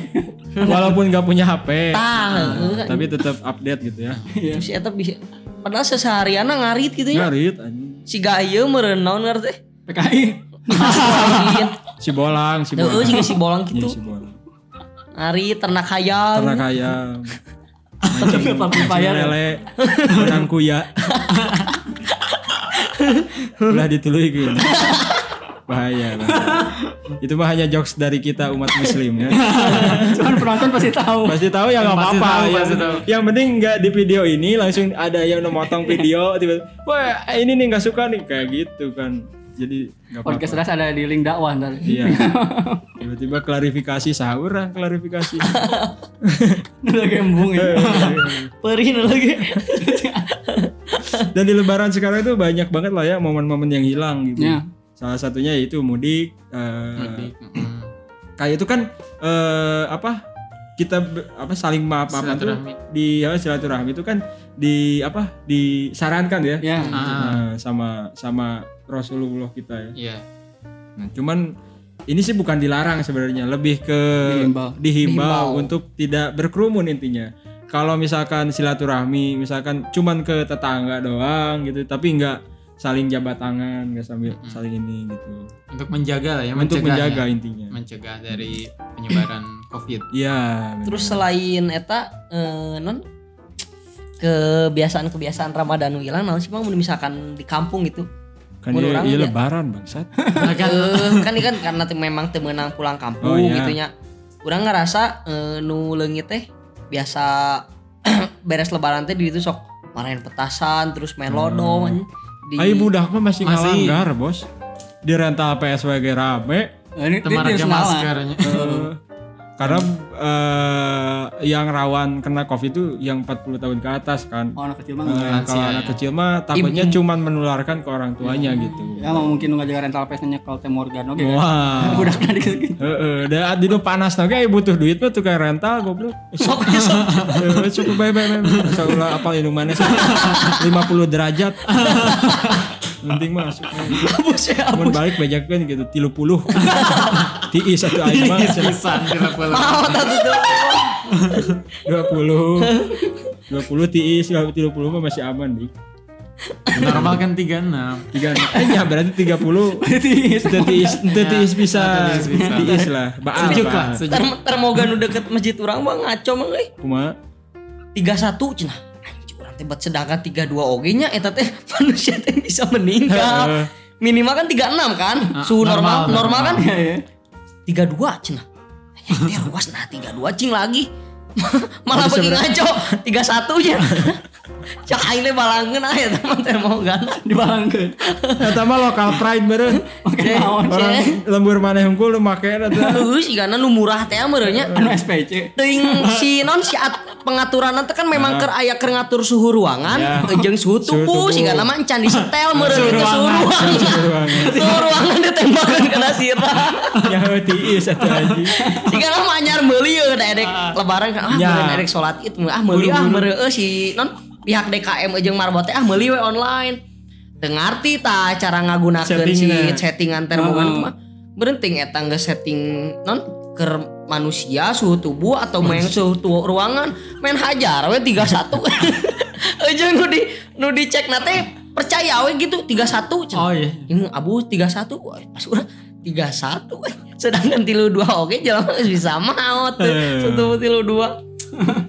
A: Walaupun gak punya HP,
C: Tah, heeh.
A: tapi tetap update gitu ya.
C: Terus eta bisa padahal seseharianna ngarit gitu ya.
A: Ngarit anjing.
C: eh. Si Gaye meureun naon ngerti?
D: PKI.
C: Anjir.
A: si bolang si
C: Heeh,
A: bolang
C: jeung si bolang
A: Iya,
C: gitu.
A: si bolang
C: Ari ternak hayam.
A: ternak ayam
D: Tapi papi
A: Bayar
D: payar.
A: lele, orang kuya. Udah ditului gitu. Bahaya. bahaya. Itu mah hanya jokes dari kita umat muslim
B: *laughs*
A: ya.
D: Cuman penonton pasti tahu.
A: Pasti tahu ya nggak
B: Pasti
A: apa-apa.
B: tahu,
A: Yang,
B: pasti tahu.
A: yang penting nggak di video ini langsung ada yang memotong
B: *laughs*
A: video tiba-tiba, wah ini nih nggak suka nih kayak gitu kan. Jadi nggak
D: Podcast
A: apa-apa.
D: Ras ada di link dakwah ntar. *laughs*
A: Iya. Tiba-tiba klarifikasi sahur
B: *laughs*
A: lah, klarifikasi.
D: Lagi embung ya.
C: Perin lagi.
A: Dan di lebaran sekarang itu banyak banget lah ya momen-momen yang hilang gitu.
D: Ya.
A: Salah satunya yaitu mudik. eh,
B: Mm-mm.
A: Kayak itu kan eh, apa? Kita be- apa saling maaf maafan tuh
B: Silaturahmi.
A: di apa, silaturahmi itu kan di apa disarankan ya.
D: Ya.
B: Ah,
A: Nah, sama sama Rasulullah kita ya.
B: iya.
A: Nah, cuman ini sih bukan dilarang sebenarnya, lebih ke
D: Dihimbau.
A: dihimbau untuk tidak berkerumun intinya. Kalau misalkan silaturahmi, misalkan cuman ke tetangga doang gitu, tapi nggak saling jabat tangan, nggak sambil saling ini gitu.
B: Untuk menjaga lah ya,
A: Untuk
B: mencegah
A: menjaga
B: ya.
A: intinya.
B: mencegah dari penyebaran COVID.
A: Iya. benar.
C: *laughs* Terus selain eta eh, non kebiasaan-kebiasaan Ramadan wilang naon sih Bang mun misalkan di kampung gitu.
A: kan
C: mun
A: iya,
C: orang
A: iya
C: dia-
A: lebaran bangsat.
B: Nah, kan
C: Eh, kan ini kan karena te- memang temenang pulang kampung
A: Oh, iya.
C: gitu nya. Urang ngerasa eh, nu leungit teh biasa *clears throat* beres lebaran teh di itu sok marahin petasan terus main lodong anjing. di
A: Hmm. Ayo budak mah masih,
B: Masih.
A: ngalanggar, Bos. Di rental PSWG rame.
D: Nah, Ini
B: teman
D: ini
B: aja *laughs*
D: Senawan.
B: maskernya.
A: Eh, karena eh, yang rawan kena Covid itu yang 40 tahun ke atas kan.
D: Oh, anak kecil
A: Eh,
D: banget.
A: kalau anak kecil mah takutnya cuman menularkan ke orang tuanya gitu.
D: Ya mau mungkin nggak jaga rental pesnya kalau Tim Morgan oke. kan?
A: Wah.
D: Udah kan dikit
A: Heeh, da di nu panas tau ge, butuh duit mah tukang rental goblok. Sok Cukup bae bae bae. Sok ulah apal indung mana sih? 50 derajat. Penting mah masuk.
C: Abus ya,
A: Mun balik bejakeun gitu 30. Tiis satu aing mah cenah
B: Pisan kita pulang.
C: mau tatu tuh.
A: 20. 20 tiis, 30 mah masih aman nih.
B: Normal kan 36.
A: tiga eh ya berarti tiga puluh tiis tiis tiis bisa tiis lah baal
B: Sejuk lah,
A: baal.
B: sejuk.
C: Ter- termoga nu deket masjid urang mah ngaco mah euy.
A: kuma
C: 31 cenah. Anjir urang teh bet sedangkan 32 oge nya eta teh *laughs* manusia teh bisa meninggal. Minimal kan 36 kan?
B: Ah,
C: Suhu normal
B: normal,
C: normal, kan?
D: Iya ya.
C: 32 cenah. Eh, teh ruas nah 32 cing lagi. *laughs* Malah bagi ngaco 31 nya. Cak aing teh balangeun aya teman teh mau kan.
D: Dibalangkeun.
A: eta mah lokal pride beren
C: Eh,
A: orang
C: ceh.
A: *laughs* lembur maneh hungkul lu make eta
C: Heuh, sigana nu murah teh meureun nya.
D: Anu SPC.
C: Ting si non si at, pengaturan nanti kan memang ker aya ker ngatur suhu ruangan,
A: Ya.
C: jeung suhu
A: Suhu
C: tubuh,
A: tubuh.
C: sehingga nama encan di setel
B: Suhu
C: meureun itu suhu
B: ruangan.
C: ruangan.
A: Suhu ruangan.
C: *laughs* Suhu ruangan ditembakeun kana
A: *laughs*
C: sira.
A: ya tiis eta aja
C: Sehingga nama anyar meuli euy da erek lebaran kan ah
A: Ya.
C: meureun erek salat id ah meuli ah meureun eh, si non pihak DKM jeung marbot teh ah meuli we online. Teu ngarti ta cara ngagunakeun si
A: Settingna.
C: settingan termogan itu mah. Berenting eta geus setting non ke manusia suhu tubuh atau main suhu tu- ruangan main hajar we
B: *laughs*
C: 31 aja nu di nu dicek na teh percaya we gitu 31 cenah.
B: Oh iya.
C: Ini abu 31 wah, pas urang 31 weh. sedangkan tilu dua oke jalan bisa maut tuh.
A: Eh.
C: Satu tilu dua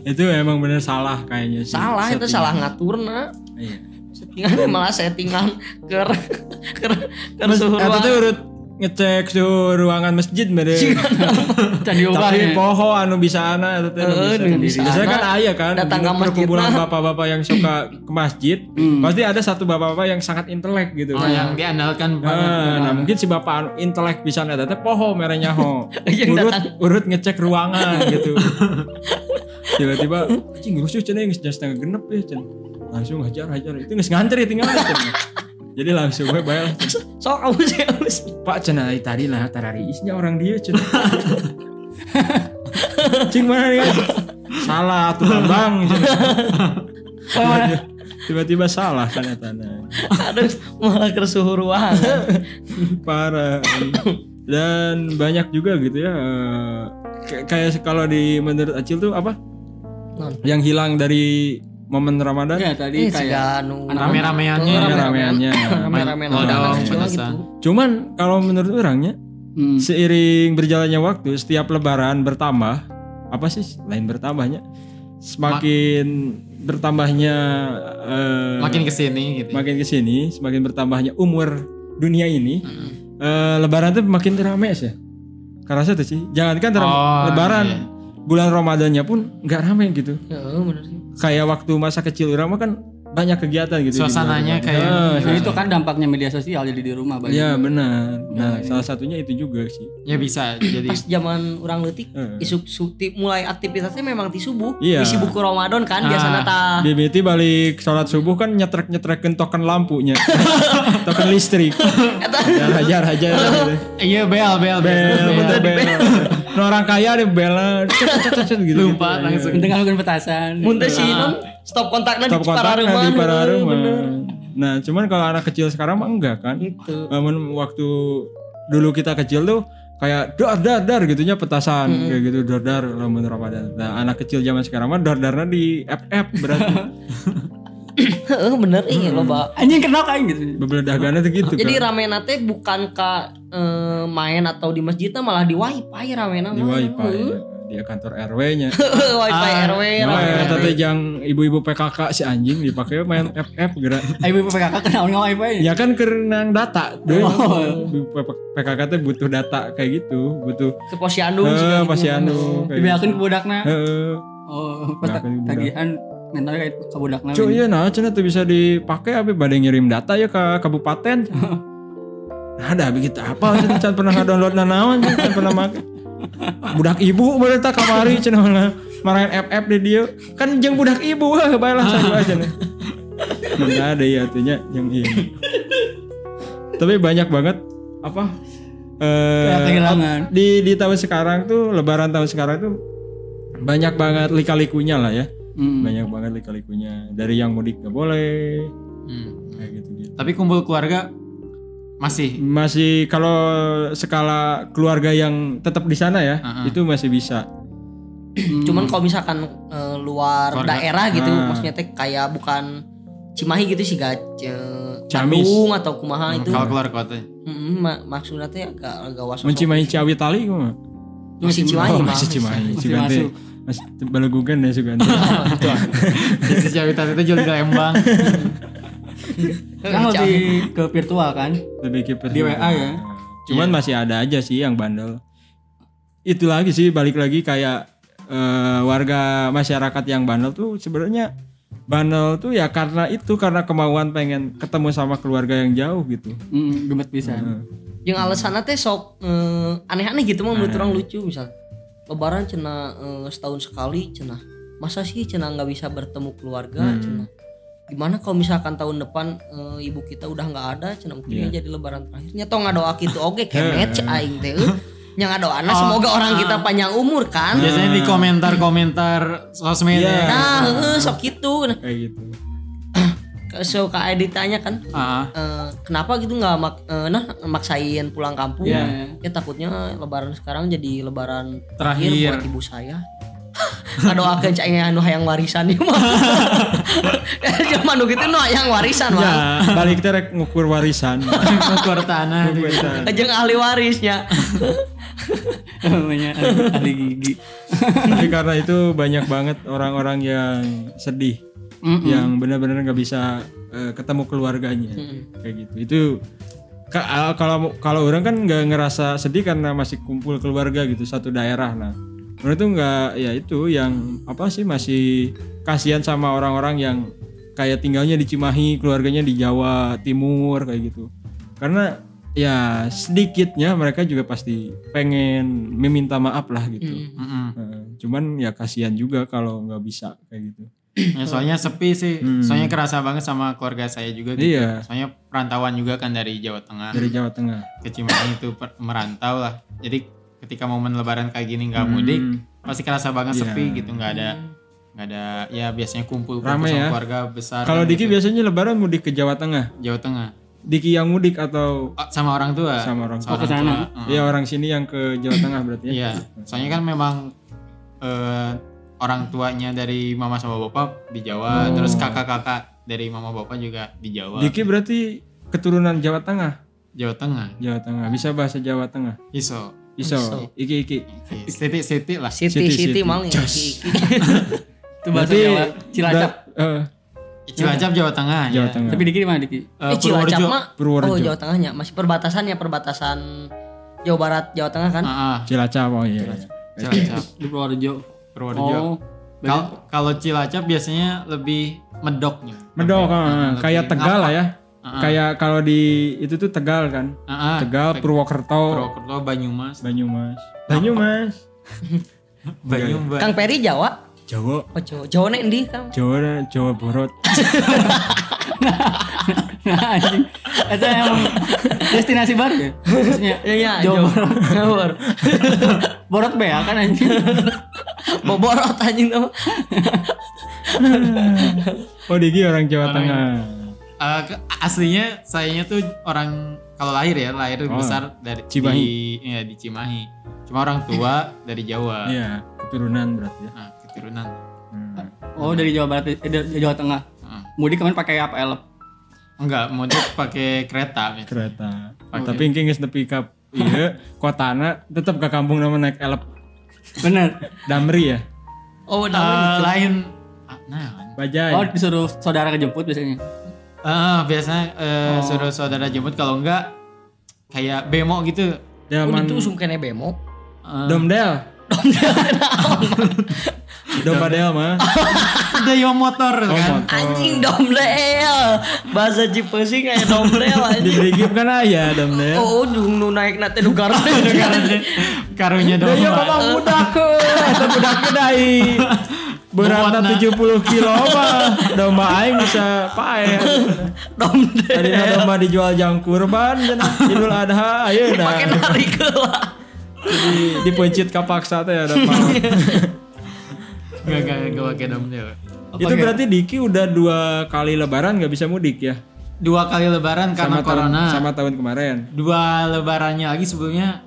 A: itu emang bener salah kayaknya sih
C: salah itu
A: settingan.
C: salah ngaturna
A: Iya.
C: settingan malah settingan ker *laughs* ker ker
A: Mas-
C: suhu
A: eta teh
C: ruangan.
A: urut ngecek suhu ruangan masjid
C: *laughs*
A: beren
D: Dan diubah
A: tapi
D: ya.
A: poho anu bisa ana eta teh anu
C: Heeh, nu
A: bisa.
C: bisa
A: Biasanya kan
C: ana,
A: aya kan
C: datang ke
A: di
C: masjid
A: perkumpulan
C: mah. Hmm.
A: bapak-bapak yang suka ke masjid, pasti ada satu bapak-bapak yang sangat intelek gitu.
B: Oh yang diandalkan
A: Ah,
B: banget.
A: nah mungkin si bapak anu intelek bisa eta teh poho merenya ho.
C: Yang
A: urut
C: datang.
A: urut ngecek ruangan gitu. Tiba-tiba anjing rusuh cenah geus jam setengah genep ya cenah. Langsung hajar hajar itu geus ngantri tinggal cenah. Jadi langsung gue bayar
C: sok abu sih abu
A: Pak cenah ai tadi lah tarariisnya orang dia cenah. *laughs* Cing mana nih kan? Salah tuh Bang. cenah. Tiba-tiba- Tiba-tiba salah ternyata. nah.
C: *laughs* aduh malah ker suhu ruangan
A: Parah. Dan banyak juga gitu ya. eh, kayak- Kayak kalau di menurut Acil tuh apa?
C: Non. Eh,
A: Yang hilang dari momen Ramadan
D: ya tadi kayak
B: Rame-rameannya.
C: Oh,
A: rame-rameannya.
C: Rame-ramean
B: Kalau ada
C: anak-anak
B: orang
C: kecil
B: pedesan.
C: gitu.
A: Cuman kalau menurut orangnya
D: Hmm.
A: seiring berjalannya waktu setiap lebaran bertambah apa sih lain bertambahnya semakin bertambahnya eh,
B: makin kesini gitu.
A: makin kesini semakin bertambahnya umur dunia ini
B: Mm-mm.
A: eh, lebaran tuh makin rame sih karena satu sih jangankan teram-
B: Oh,
A: lebaran
B: iya.
A: bulan ramadannya pun nggak rame gitu
C: Ya, eh, bener sih.
A: kayak waktu masa kecil orang mah kan banyak kegiatan gitu di bulan
B: Suasananya
A: Ramadan.
B: kayak-
A: Eh,
D: Jadi itu kan dampaknya media sosial jadi di rumah banyak.
A: Iya benar. Nah salah satunya itu juga sih.
B: Ya bisa jadi
C: Pas zaman orang leutik
A: Heeh.
C: isuk sukti mulai aktivitasnya memang di subuh.
A: Iya.
C: Di sibuk ke Ramadan kan biasa
B: Ah.
C: nata.
A: BBT balik sholat subuh kan nyetrek nyetrekin token lampunya, *laughs* token listrik. Hajar hajar
B: *laughs*
A: hajar. gitu.
B: Iya bel bel
A: Bel,
B: Iya,
A: bentar bel. Nah, orang kaya ada bel, cet, cet, cet, cet, gitu.
B: Lupa langsung.
D: Penting kan petasan.
C: Muntah sih
A: Iya.
C: non stop kontaknya di
A: Top
C: para
A: kontaknya
C: rumah.
A: di para rumah. Nah cuman kalau anak kecil sekarang mah enggak kan.
C: Gitu.
A: Namun waktu dulu kita kecil tuh kayak dar dar dar gitunya petasan kayak gitu dar dar lamun Ramadan. Nah, anak kecil zaman sekarang mah dar darnya di app
C: *laughs*
A: berarti
C: Heeh, bener iya loba.
D: Anjing kenal kain gitu.
A: bebeledagannya tuh Hmm. gitu
C: Jadi
A: kan.
C: ramena teh bukan ke eh, main atau di masjidnya malah di wifi ramena
A: di
C: mah.
A: wifi ya. di kantor
C: *laughs*
A: RW-nya.
C: Heeh, *laughs* wifi RW
A: Nah,
C: ramena.
A: tapi yang ibu-ibu PKK si anjing dipakai main FF gerak.
D: Ibu ibu PKK kenal nggak wifi?
A: Ya kan karena data. Deh.
D: Oh.
A: PKK tuh butuh data kayak gitu, butuh
C: Ke posyandu
A: eh,
C: sih.
A: pasyandu kayak Eh.
D: Dibiakin ke budakna.
A: Heeh.
D: Oh, pas
A: Dibiakin ke budak.
D: tagihan mentalnya kayak ke budakna.
A: Cuy, iya nah cenah tuh bisa dipakai abi bade ngirim data ya ke kabupaten. nah, ada abi kita apa cenah can pernah download nanaon cenah can pernah make. Budak ibu baru tak kamari cenah malah marahin FF di dia. Kan jeung budak ibu *laughs* heh baelah saja aja cenah. Enggak ada ya artinya yang ini. Tapi banyak banget apa
D: Ya,
A: eh
D: kehilangan.
A: di di tahun sekarang tuh lebaran tahun sekarang tuh banyak banget lika-likunya lah ya
D: Hmm.
A: banyak banget lika-likunya dari yang mudik nggak boleh kayak gitu gitu
B: Hmm. Tapi kumpul keluarga masih
A: masih kalau skala keluarga yang tetap di sana ya
B: Uh-uh.
A: itu masih bisa
C: Cuman
A: Hmm.
C: kalau misalkan eh, luar
B: Keluarga.
C: daerah gitu,
A: Ah.
C: maksudnya teh kayak bukan Cimahi gitu sih gak
A: Ciamis. Hmm.
C: Bandung atau kumaha Nah, itu.
B: kalau keluar kota.
C: Mm, ma- maksudnya teh agak agak was
A: mencimahi Ciawi tali kok mah.
C: masih Cimahi
A: oh,
C: Bang.
A: masih Cimahi
D: Masih
A: Sugante.
D: masuk.
A: masih Balogugan ya
D: *laughs*
A: Sugante
B: Jadi Jawa Tata itu jual di Lembang.
D: Kan lebih ke virtual kan?
A: lebih kiper
D: Di WA ya?
A: cuman masih ada aja sih yang bandel itu lagi sih balik lagi kayak eh, warga masyarakat yang bandel tuh sebenarnya bandel tuh ya karena itu karena kemauan pengen ketemu sama keluarga yang jauh gitu Nah.
D: Hmm, gemet bisa.
C: Yang alasannya teh sok eh, aneh-aneh gitu mah menurut orang lucu misal. Lebaran cina eh, setahun sekali cina. Masa sih cina nggak bisa bertemu keluarga cina. Gimana kalau misalkan tahun depan eh, ibu kita udah nggak ada cina mungkin ini jadi lebaran terakhirnya toh nggak doa gitu oke kemet cek aing teh. eh. Yang ada anak semoga orang kita panjang umur kan.
B: Biasanya di komentar-komentar sosmed.
A: Iya.
B: ya.
C: Nah, heeh, sok gitu. Nah, *clears throat*
A: kayak Eh, gitu
C: so kak Edi tanya kan
B: Ah, *laughs*
C: eh, kenapa gitu nggak mak eh, nah maksain pulang kampung
D: Iya.
C: ya takutnya lebaran sekarang jadi lebaran
B: Terakhir.
C: terakhir, buat ibu saya *laughs* ada akan cahaya anu hayang warisan ya mah *laughs* zaman nu gitu nu hayang warisan mah
A: ya balik teh rek ngukur warisan
B: Ngukur tanah.
A: Warisan.
C: jeung ahli warisnya *laughs*
D: *laughs* Namanya ahli ahli gigi.
A: tapi karena itu banyak banget orang-orang yang sedih yang benar-benar nggak bisa eh, ketemu keluarganya kayak gitu itu ka- kalau kalau orang kan nggak ngerasa sedih karena masih kumpul keluarga gitu satu daerah nah menurut itu nggak ya itu yang apa sih masih kasihan sama orang-orang yang kayak tinggalnya di Cimahi keluarganya di Jawa Timur kayak gitu karena ya sedikitnya mereka juga pasti pengen meminta maaf lah gitu *clears throat*
B: Mm-mm.
A: Heeh. cuman ya kasihan juga kalau nggak bisa kayak gitu
B: Ya, soalnya sepi sih. Soalnya kerasa banget sama keluarga saya juga gitu.
A: Hmm. iya
B: Soalnya perantauan juga kan dari Jawa Tengah
A: dari Jawa Tengah
B: ke Cimahi itu per- merantau lah. Jadi ketika momen lebaran kayak gini nggak mudik,
A: Hmm.
B: pasti kerasa banget
A: Iya.
B: sepi gitu, nggak ada nggak ada ya biasanya kumpul kumpul
A: Rame
B: sama
A: ya.
B: keluarga besar
A: kalau Diki biasanya Lebaran mudik ke Jawa Tengah
B: Jawa Tengah.
A: Diki yang mudik atau
B: Oh, sama orang tua.
A: sama orang
B: Sama
D: ke
A: tua
D: sana.
B: tua.
A: ya orang sini yang ke Jawa Tengah berarti ya
B: Iya, soalnya kan memang eh, orang tuanya dari mama sama bapak di
A: Oh.
B: Jawa, terus kakak-kakak dari mama bapak juga di Jawa,
A: Diki berarti keturunan Jawa Tengah.
B: Jawa Tengah.
A: Jawa Tengah bisa bahasa Jawa Tengah.
B: Iso.
A: Iso, iki iki.
B: Siti-siti lah.
C: Siti
A: Siti,
C: Siti
A: Siti.
C: maling. *laughs*
D: Itu bahasa Jawa Cilacap.
A: berat- eh,
B: Cilacap Jawa Tengah.
A: Jawa
B: ya.
A: Tengah.
D: Tapi Diki di mana Diki?
B: Eh,
C: Eh, Cilacap
B: Purworejo.
C: mah.
A: Purworejo.
C: Oh, Jawa Tengahnya masih perbatasannya perbatasan Jawa Barat, Jawa Tengah kan?
B: Ah, ah,
A: Cilacap oh iya.
B: Cilacap.
D: Di Purworejo. Oh.
B: Purworejo. Kal- Kalau Cilacap biasanya lebih medoknya.
A: Medok ah,
B: lebih
A: kayak Tegal lah ya. Kayak kalau di itu tuh Tegal kan.
B: Ah, ah,
A: Tegal, Iya, Purwokerto,
B: Purwokerto, Banyumas,
A: Banyumas. Banyumas. iya.
B: Banyumas.
C: Kang Peri Jawa.
A: Jawa,
C: Oh, Jawa. Jawa nek ndi, *laughs* Kang?
A: Jawa, Jawa *laughs* Barat.
D: *laughs* Nah, anjing. Itu emang destinasi baru ya? Maksudnya,
C: Iya, iya,
D: Jawa Barat.
C: Jawa Barat.
D: *laughs* Borot Bea kan anjing.
C: Boborot anjing tuh.
A: Oh, Diki orang Jawa Tengah.
B: Eh, ke- aslinya sayanya tuh orang kalau lahir ya lahir
A: Oh.
B: besar dari
A: Cimahi.
B: di, ya, di Cimahi. Cuma orang tua dari Jawa.
A: Iya, keturunan berarti ya.
B: Nah, keturunan.
A: Hmm.
D: Oh dari Jawa Barat, eh, dari Jawa Tengah.
B: Heeh.
D: Mudik kemarin pakai apa elep?
B: Enggak, mudik pakai kereta. gitu. Mit.
A: Kereta. Ah, Tapi engke geus nepi ka ieu *laughs* kotana tetep ke kampung nama naik elep
D: Bener.
A: Damri ya.
C: Oh,
B: Eh,
C: nah.
B: lain ah, nah
A: Bajai.
D: Oh disuruh saudara ngejemput biasanya.
B: Ah, biasanya eh,
A: Oh.
B: suruh saudara jemput kalau enggak kayak bemo gitu.
A: Delman
C: Itu usum kene Oh, bemo.
A: oh, Ah. Domdel. Domba Del *laughs* mah.
B: Ada yo motor
A: Oh,
B: kan.
C: Anjing domlel. Bahasa Cipeusing aya *laughs* domlel
A: Di
C: anjing.
A: Brigip kan aya Domdel.
C: Oh, dung nu naik na teh nu *laughs* garang.
B: Karunya dong.
A: Iya mama budak ke, eta budak ke
B: *laughs*
A: dai. Beratna
B: nah.
A: 70 kilo mah domba aing bisa pae.
C: Domlel.
A: Tadi domba dijual jang kurban cenah Idul Adha
C: Pakai
B: nah.
A: ayeuna.
C: nari lah.
A: Jadi dipencit kapaksa teh ada apa.
B: Iya. Enggak enggak enggak pakai domdel.
A: Itu berarti Diki udah dua kali lebaran nggak bisa mudik ya?
B: Dua kali lebaran karena
A: Sama tahun,
B: corona.
A: sama tahun kemarin.
B: Dua lebarannya lagi sebelumnya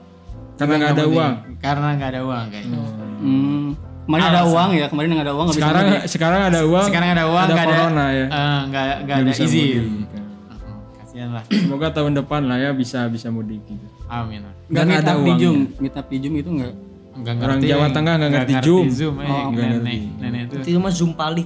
A: Karena nggak ada
B: mudik.
A: uang.
B: Karena nggak ada uang kayaknya.
D: Hmm. Kemarin ada uang ya, kemarin nggak ada uang nggak bisa
A: Sekarang
D: mudik.
A: sekarang ada uang.
B: Sekarang ada uang
A: ada
B: nggak ada
A: corona ya.
B: eh, nggak nggak ada
A: bisa
B: izin.
A: mudik.
B: Heeh, Kasihan lah.
A: Semoga tahun depan lah ya bisa bisa mudik gitu.
B: Amin. lah.
D: Nggak
A: Dan
D: meet
A: ada
D: up di
A: uangnya.
D: Zoom, meet up di Zoom itu nggak.
B: Enggak
A: Orang Jawa Tengah nggak ngerti Zoom.
B: Zoom, eh,
D: Oh,
A: nggak
B: nenek, nenek itu.
C: Itu mah zoom palik.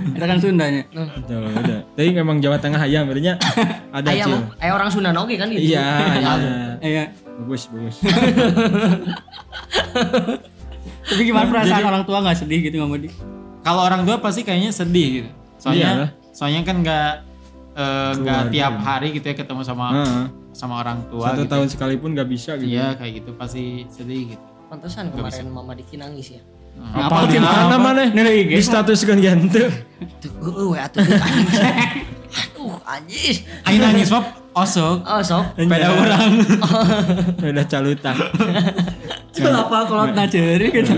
D: Kita kan Sundanya.
A: Betul, ada. Tapi memang Jawa Tengah ayam berarti *laughs* ada
C: Aya
A: Cil.
C: aya orang Sunda oge
A: *laughs*
C: kan gitu.
A: Iya, iya.
D: Iya.
A: Bagus, *laughs* bagus.
D: Tapi gimana perasaan orang tua nggak sedih gitu nggak mudik?
B: Kalau orang tua pasti kayaknya sedih gitu. Soalnya
A: Iyalah.
B: soalnya kan nggak eh, nggak tiap hari gitu ya ketemu sama
A: Heeh.
B: sama orang tua
A: Hmm. Satu
B: gitu.
A: tahun sekalipun nggak bisa gitu.
B: Iya kayak gitu pasti sedih gitu.
C: Pantesan kemarin Mama Diki nangis ya.
A: Apa di mana mana? Di status kan gitu.
C: Tuh, gue we atuh geus, anjing. Aduh, anjing.
B: Ayo nangis pop osok.
C: Oh,
A: *laughs*
C: sok.
A: Beda orang. *laughs* Beda caluta.
D: Itu apa kalau nggak ceri gitu.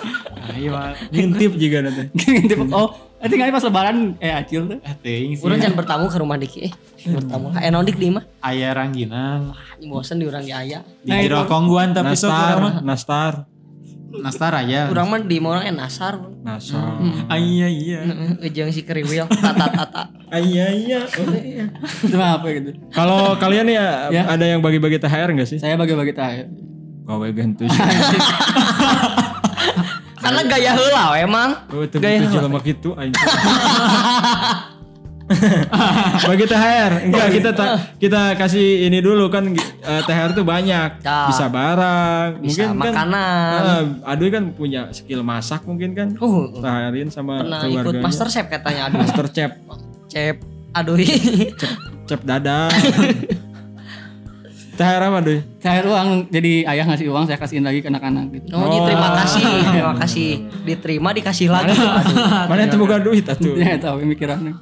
D: *laughs*
B: Ayo Pak.
A: Ngintip juga nanti.
D: Gitu. Oh, nanti kali pas lebaran eh acil tuh.
B: eh ting sih.
C: Urang can bertamu ke rumah Diki. eh. Bertamu ka Enon Dik di mah.
B: Aya rangginang
C: Anjing bosen di urang di aya.
B: di jero kongguan tapi sok urang mah.
A: Nastar, Nastar,
B: Nastar aya.
C: Urang mah di mah orang enasar. bro.
A: Nasar.
B: Aya iya.
C: Heeh, Ejeng si kriwil tata tata.
A: Iya iya. oh iya.
D: Cuma apa gitu.
A: Kalau kalian ya,
D: Ya.
A: ada yang bagi-bagi THR nggak sih?
D: Saya bagi-bagi terakhir.
A: Gawe gentus.
C: Karena gaya heula we, Mang.
A: Oh, tapi itu jelema gitu anjing. *laughs* bagi THR enggak kita ta- kita kasih ini dulu kan eh, THR tuh banyak
C: Ya.
A: bisa barang
C: Bisa
A: mungkin kan
C: makanan.
A: eh, Aduy kan punya skill masak mungkin kan
C: Uh,
A: THRin sama
C: pernah ikut
A: keluarganya
C: master chef katanya aduh.
A: Master Chef
C: Chef aduh.
A: Cep dada. *laughs* THR apa Duy?
D: Terakhir uang jadi ayah ngasih uang saya kasihin lagi ke anak-anak gitu.
C: Oh, Ji, terima kasih, terima kasih. Diterima dikasih lagi. Aduh.
A: Mana itu bukan duit atuh.
C: Iya.
D: Ya tahu pemikirannya.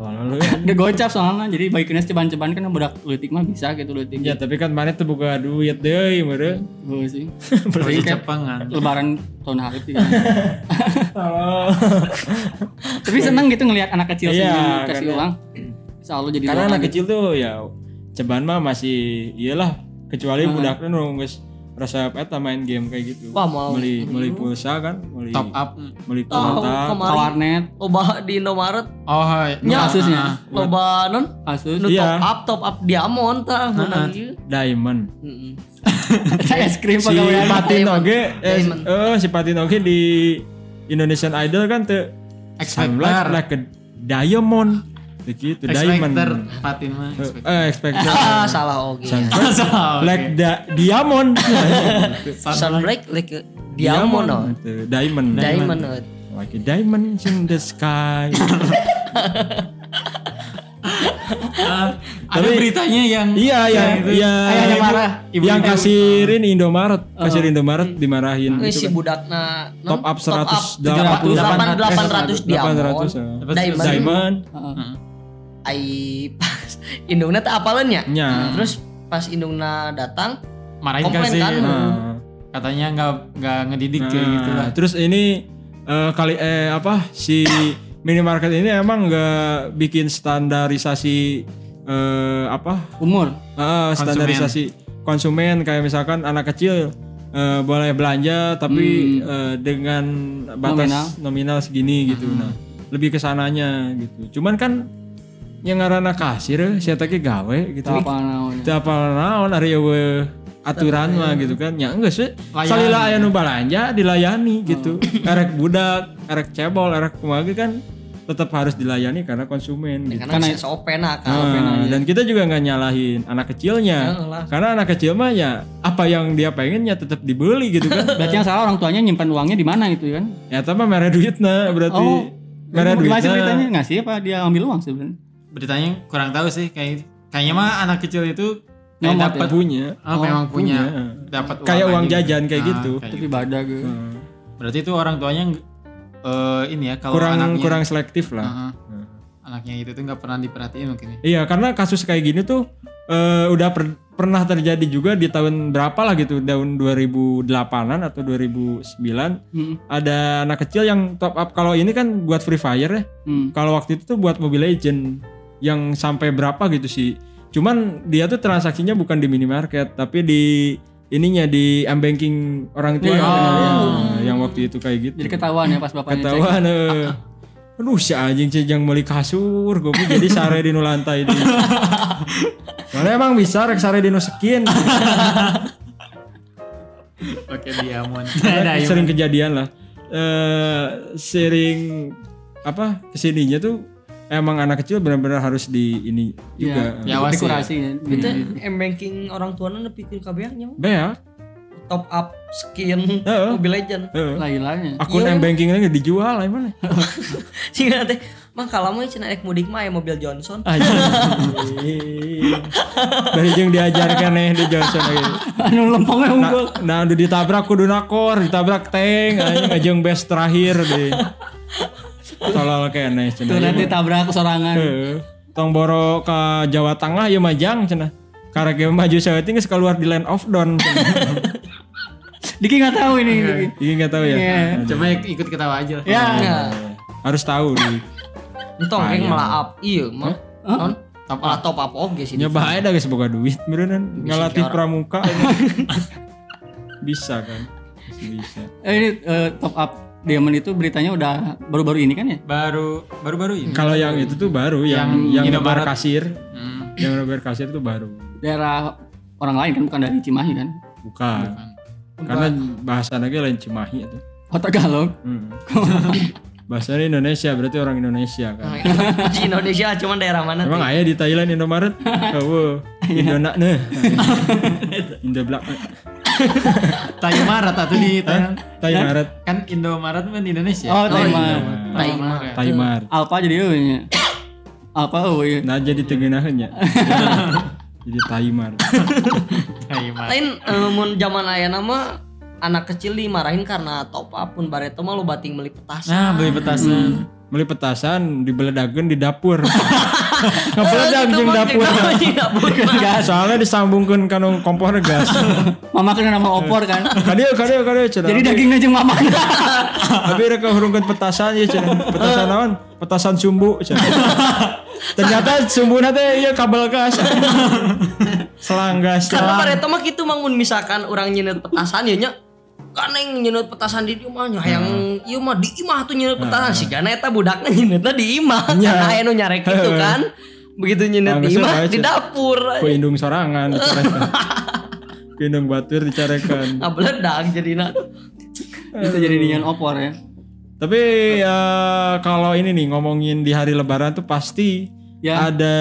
A: Tolong lu ya.
D: Udah gocap soalnya jadi bagi kena ceban-ceban kan budak lutik mah bisa gitu lutik.
A: Ya, tapi kan mana itu bukan duit deui meureun.
D: Gue Gitu sih.
B: Berarti
C: kan.
B: cepengan.
A: Iya.
D: Lebaran tahun harap sih. kan.
A: Tolong.
D: Tapi seneng gitu ngelihat anak kecil
A: Iya,
D: sendiri kasih
A: karena-
D: uang. Insya Allah jadi
C: ya?
A: Karena
D: doa
A: anak
D: gitu.
A: kecil tuh ya ceban mah masih iyalah kecuali budaknya nu geus resep eta main game kayak gitu.
C: Wah, mau. Oh,
A: Beli beli pulsa kan, beli
B: top up
A: beli
C: Tahu
A: kuota.
D: ke
C: kemarin
D: warnet
C: loba di Indomaret
B: oh hai.
A: Ya.
C: Nya.
D: kasusnya
C: loba non
D: kasus
A: *laughs*
C: nu
A: Iya. Ah,
C: top up top up diamond tah menang ieu.
A: Diamond.
C: Heeh.
D: es krim
A: si
D: pegawai
A: Patin Oge eh,
C: Diamond.
A: eh, si Patin Oge di Indonesian Idol kan tuh
B: X
A: sunlight
B: Factor
A: lah ke Diamond
B: X
A: begitu Diamond
B: Factor Patin mah X Factor.
A: eh Expector
C: *laughs* Ah, salah oge.
A: Sunlight
B: Salah, oke.
A: like da- Diamond
C: Sunbreak like a *laughs*
A: Iya,
C: diamond. oh.
A: Tuh, Diamond
C: Diamond. oh.
A: like a diamond in the sky
B: Ah, ada
A: Tapi-
B: beritanya yang
A: *laughs* iya Oh. yang yang
B: Ayahnya marah. Ibu-
A: yang
B: ibu-
A: kasirin Indomaret kasir Indomaret dimarahin
C: Eh,
A: gitu
C: si
A: kan.
C: budakna non?
A: top up 100
D: 300.
C: 800 800 diamond.
A: 800 eh.
B: Terus-
C: Diamond.
A: Diamond
C: Ai pas *laughs* indungna teh apalan nya?
A: nya
C: Terus pas indungna datang
B: marahin
C: Komplain
B: kasih
C: kan.
A: Nah.
B: katanya nggak nggak ngedidik kayak
A: Nah,
B: gitu lah
A: Terus ini eh, kali eh apa si minimarket ini emang nggak bikin standarisasi eh, apa
D: umur
A: Eh, standarisasi konsumen kayak misalkan anak kecil eh, boleh belanja tapi eh, dengan batas nominal, segini gitu. Nah lebih kesananya gitu. Cuman kan yang ngarana kasir saya tadi gawe gitu.
D: apa naonnya
A: Teu apal naon ari we aturan mah gitu kan ya enggak sih
B: Layani.
A: salila aya nu balanja dilayani gitu erek budak erek cebol erek kumaha ge kan tetap harus dilayani karena konsumen gitu
C: ya karena saya sopena kan.
A: Nah, dan kita juga nggak nyalahin anak kecilnya
C: Heeh lah.
A: karena anak kecil mah ya apa yang dia pengennya tetap dibeli gitu
D: *laughs*
A: kan
D: berarti yang salah orang tuanya nyimpan uangnya di mana itu kan
A: ya tapi merah duitnya berarti
D: Oh,
A: merah
D: Gimana sih beritanya
A: duitnya
D: ngasih apa dia ambil uang sebenarnya
B: beritanya kurang tahu sih kayak gitu. kayaknya mah anak kecil itu kayak
D: Nyomot
B: dapat
A: punya
B: ah, memang punya
A: ya? Oh, punya.
B: dapat
A: kayak uang
B: aja.
A: jajan kayak
B: Ah,
A: gitu
B: kayak
D: tapi bada gue
A: Hmm.
B: berarti itu orang tuanya eh, ini ya kalau
A: kurang
B: anaknya
A: kurang selektif lah
B: Ah, anaknya itu tuh nggak pernah diperhatiin mungkin
C: *laughs*
B: ya.
A: Iya, karena kasus kayak gini tuh eh, udah per- pernah terjadi juga di tahun berapa lah gitu, tahun 2008-an atau 2009
D: Hmm.
A: ada anak kecil yang top up kalau ini kan buat Free Fire ya.
D: Hmm.
A: Kalau waktu itu tuh buat Mobile Legend yang sampai berapa gitu sih. Cuman dia tuh transaksinya bukan di minimarket tapi di ininya di m banking orang tua yang waktu itu kayak gitu
D: Iya. Oh. jadi ketahuan ya pas bapaknya cek
A: ketahuan eh. aduh si anjing si jang beli kasur gue jadi sare di nu lantai di karena emang bisa rek sare di nu
D: *laughs*
A: sekian
D: Iya,
B: oke diamond
D: iya,
A: Karena sering kejadian lah eh sering apa kesininya tuh emang anak kecil benar-benar harus di ini juga
B: ya
A: Iya.
B: awas ya
D: kurasi Iya, ya.
C: Itu m banking orang tuana nepikeun kabeahnya
A: Bea,
C: top up skin
A: Heeh.
C: Mobile Legend. *laughs*
A: eh,
D: Lailanya.
A: akun m
C: Iya,
A: bankingnya nggak dijual lah emang
C: Sehingga teh mah kalamu cenah rek mudik mah aya mobil Johnson.
A: anjing dari jeung diajarkan nih di Johnson aja.
D: *laughs* Anu lempongnya
A: Nah,
D: unggul.
A: nah udah ditabrak kudu nakor, ditabrak tank, anjing ajeng best terakhir deh. Tolol kene
D: Tuh
A: cenah.
D: nanti tabrak
A: *laughs*
D: sorangan.
A: Heeh. Tong boro ke Jawa Tengah ya majang cenah. Karek ge maju saeuting geus keluar di land of dawn. cenah.
D: Diki nggak tahu ini. Diki.
A: Ini enggak tahu ya.
B: *laughs* coba ikut ketawa aja lah.
D: Ya.
A: Iya.
C: Nah,
A: Harus tahu di.
C: entong rek malah up ieu mah. Non
B: Top
C: malah top up oge sih.
A: Nyoba aja dah geus boga duit beneran ngelatih *laughs* pramuka. Bisa kan? Bisa.
D: Eh, ini eh, top up diamond itu beritanya udah baru-baru ini kan ya?
B: baru baru baru ini
A: Kalau yang itu tuh baru yang yang, nebar kasir,
B: Hmm.
A: yang nebar kasir tuh baru.
D: Daerah orang lain kan bukan dari Cimahi kan?
A: Bukan. Karena bahasa lagi lain Cimahi itu.
D: Oh Tagalog.
A: *laughs* Hmm. Bahasanya Indonesia berarti orang Indonesia kan.
C: *laughs* Di Indonesia cuman daerah mana?
A: Emang ayah di Thailand *laughs* Indomaret? Oh, Indona *laughs* nah. Indoblak.
B: Thaimarat atau
A: Eh?
B: di Thailand
A: Thaimaret.
B: kan Indomaret kan di Indonesia
D: Oh
C: iya.
D: Taima.
C: Thailand.
A: Thaimar.
D: Alpa jadi oh, iya. euy nya. Alpa euy.
A: Nah jadi *laughs* tegenahan ya. jadi Thaimar.
B: Thaimarat
C: Lain eh, mun zaman aya nama anak kecil dimarahin karena top up pun bareto mah lo bating beli petasan.
B: nah
A: Ah,
B: beli petasan
A: Beli petasan dibeledageun di dapur.
C: *laughs* Eh,
A: Ngebeledag jeung dapur.
C: gitu.
A: *laughs*
C: Iya,
A: Iya. Soalnya disambungkeun kana kompor gas.
D: Mama kena nama opor kan.
C: *laughs*
A: Kadieu kadieu kadieu cenah.
D: Jadi
C: Iya.
D: dagingnya jeung mama.
A: Tapi mereka hurungkan petasan ya cenah.
C: Eh.
A: Petasan naon? Petasan iya, sumbu cenah. Ternyata sumbu teh ieu kabel gas. selanggas
C: Karena pada eta mah gitu mangun misalkan orang nyenet petasan ya nya kaneng nyenet petasan di imah nya hayang
A: Hmm.
C: ieu iya mah di imah tuh nyenet petasan sih karena eta budakna nyeunetna di imah
A: Nya.
C: karena aya nu nyarek itu
A: Hmm.
C: kan begitu nyenet
A: Harusnya
C: di imah
A: bae,
C: di
A: Cen.
C: dapur
A: ku indung sorangan
C: *laughs*
A: dicarekan. ku indung batur
C: Ah,
A: dicarekan
C: ngabeledak jadina
D: Itu jadi dinyan opor ya.
A: tapi ya kalau ini nih ngomongin di hari lebaran tuh pasti
D: Ya.
A: ada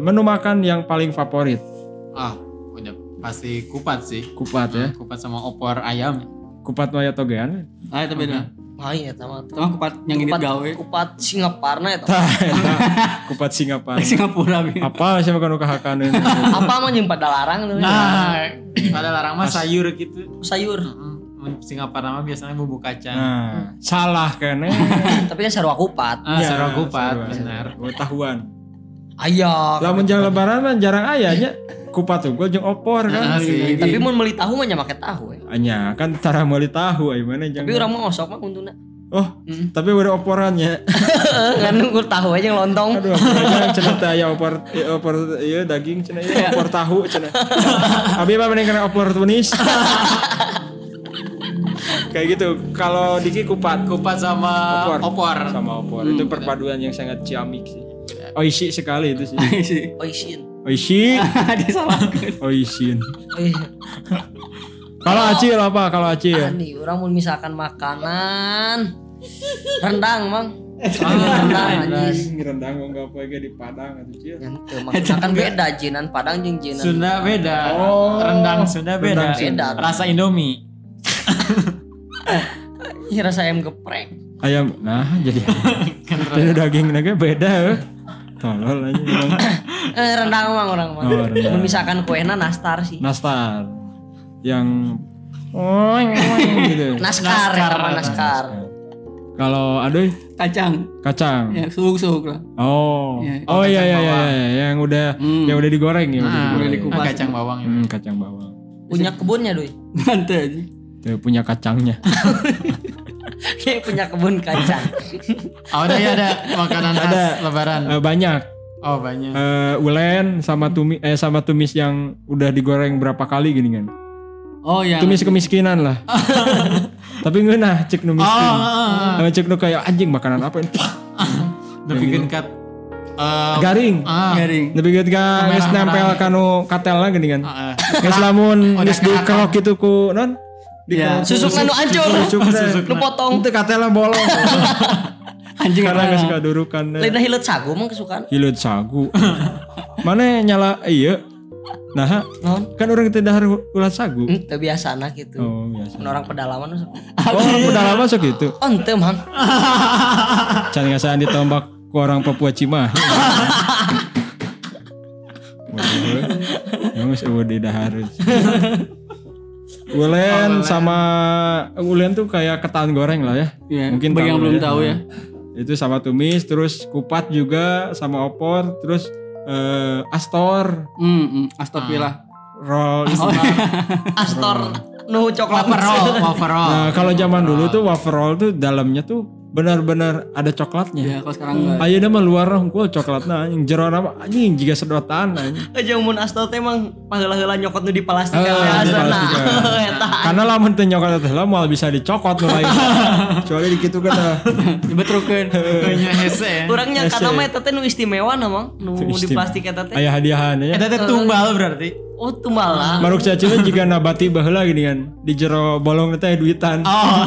A: menu makan yang paling favorit
B: ah udah pasti kupat sih
A: kupat ya
B: kupat sama opor ayam
A: kupat maya
B: *laughs*
A: togean
D: Ah itu beda.
C: Mah iya eta mah.
D: Sama kupat yang ini
C: Kupat-
D: gawe.
C: Kupat Singaparna ya, eta.
A: Tah, eta. kupat singapura
D: Singapura bi. *laughs*
C: Ah.
A: apa siapa kan kanu kahakaneun
B: *laughs*
C: Apa mah jeung pada larang tuh.
B: nah pada larang mah sayur gitu
C: sayur.
B: Mm, Singapura mah biasanya bubuk kacang
A: nah salah kene
C: Tapi kan sarua kupat.
B: ah
A: Ya,
B: sarwa kupat
A: sarwa.
B: benar
A: Oh, tahuan
C: Aya.
A: lamun jang lebaran mah jarang ayahnya kupat unggul jeung opor
B: Ah,
A: kan
B: sih.
C: Tapi mun meuli tahu mah nya make tahu. we.
A: Anya kan tara meuli tahu ai mana jang
C: Tapi urang mah osok mah kuntuna.
A: oh
B: Mm.
A: tapi udah oporannya
C: *laughs* Nganu kur tahu aja yang lontong.
A: *laughs* aduh oporannya cenah teh aya opor ieu opor ieu daging cenah ieu opor tahu cenah abi mah mending kena opor *laughs* tunis kayak gitu kalau Diki kupat
B: kupat sama
A: Eh, Opor. Hmm.
B: opor,
A: sama opor itu perpaduan yang sangat ciamik sih oishi sekali itu *laughs* sih Oh,
D: sih. *laughs*
C: Oh, Oisin.
A: oishi
D: Disalahkan.
A: oishin
C: Oisin.
A: Oh, kalau acil apa kalau ya? acil
C: Ani urang mun misalkan makanan rendang, Mang.
A: Eh,
C: Oh, rendang anjing.
A: rendang enggak apa di Padang atau Cil.
C: Yang teu
A: *laughs*
C: maksudna kan beda jinan Padang jeung jinan.
B: Sunda beda
A: Oh.
B: rendang Sunda beda
A: Rendang
C: Sunda.
B: rasa Indomie
C: Ih, rasa ayam geprek.
A: Ayam nah jadi *laughs* jadi daging naga beda eh. Tolol aja emang.
C: Eh, rendang Mang orang Mang.
A: Oh, rendang. Nah,
C: Mun misalkan kuehna nastar sih.
A: nastar yang oeng, oeng *laughs* gitu.
C: Naskar, eta mah naskar.
A: Kalau aduh
D: Kacang.
B: Iya.
A: kacang.
D: Ya suhuk-suhuk lah.
A: Oh.
D: Iya,
A: oh iya iya iya iya, yang udah yang udah digoreng ya udah
B: Nah,
A: digoreng.
B: Hmm. ah, kacang bawang ya.
A: Hmm, kacang bawang.
C: Punya kebunnya, Duy. *laughs*
D: Nanti aja.
A: Tuh, punya kacangnya.
B: Hmm.
C: Kayak punya kebun kacang.
A: *laughs*
B: Oh, ada ya ada makanan khas lebaran.
A: Eh, banyak
B: Oh, banyak.
A: Eh, ulen sama
B: Hmm.
A: tumis eh sama tumis yang udah digoreng berapa kali gini kan.
D: Oh yang
A: tumis kemiskinan
B: *laughs*
A: lah tapi ngeunah cek nu miskin
B: Oh.
A: Sama cek nu kayak anjing makanan apa ini Pah,
B: Depikeun kat eh
A: garing
B: ah,
D: garing.
A: tapi geus ka geus nempel kanu katelna gini kan
B: ah,
A: geus lamun
B: Udah
A: geus dikerok gitu ku non
D: Ya,
A: dikerok
C: Susuk anu hancur.
A: susuk
C: *laughs*
A: susuk
C: Nu potong.
A: teu katelna bolong
D: Anjing
A: *laughs* karena
D: apa?
A: geus kadurukan
C: Lina hilet sagu Mang kesukaan.
A: hileut sagu mana nyala Eh, iya nah
C: Naon?
A: kan orang teh dahar ulat sagu
C: Hmm, teu biasana gitu.
A: oh biasa
C: Mun orang pedalaman sok.
A: oh udah lama sok gitu
C: Oh, ente, Mang.
A: Can ngasaan ditombak ku orang Papua Cimahi. Waduh, yang geus eueuh di dahar.
D: Oh,
A: Ulen sama ulen tuh kayak ketan goreng lah ya.
D: Iya,
A: Mungkin
D: bagi yang
A: tahu
D: belum tahu ya.
A: Itu sama tumis, terus kupat juga sama opor, terus eh, astor,
D: Hmm, hmm. Astagfirullah. Oh, iya.
A: roll.
C: Ah. Astor
A: Hmm.
C: nu coklat gitu.
B: overall,
A: *laughs*
B: overall.
A: Nah, kalau zaman dulu tuh wafer roll tuh dalamnya tuh benar-benar ada coklatnya.
D: Ya, kalau sekarang enggak.
A: Ayeuna mah luar hungkul coklatna anjing jero nama anjing jiga sedotan anjing.
C: *laughs* Aja mun Astor teh emang paheula-heula nyokot nu di plastik
A: Eh,
C: aja
A: di
C: sana.
A: plastik,
C: *laughs* Eta.
A: Karena lamun teu nyokot teh lah moal bisa dicokot nu lain. *laughs* Kecuali di kitu kan. ah.
D: Dibetrukeun.
B: Punya hese ya.
C: Urang nyangka nama eta teh nu istimewa na Mang, nu di
A: istimewa.
C: plastik eta teh.
A: Aya hadiahan nya.
B: Eta teh tumbal berarti.
C: Oh, tumalah.
A: Maruk cacing jiga nabati baheula gini kan. Di jero bolong teh duitan.
B: Oh,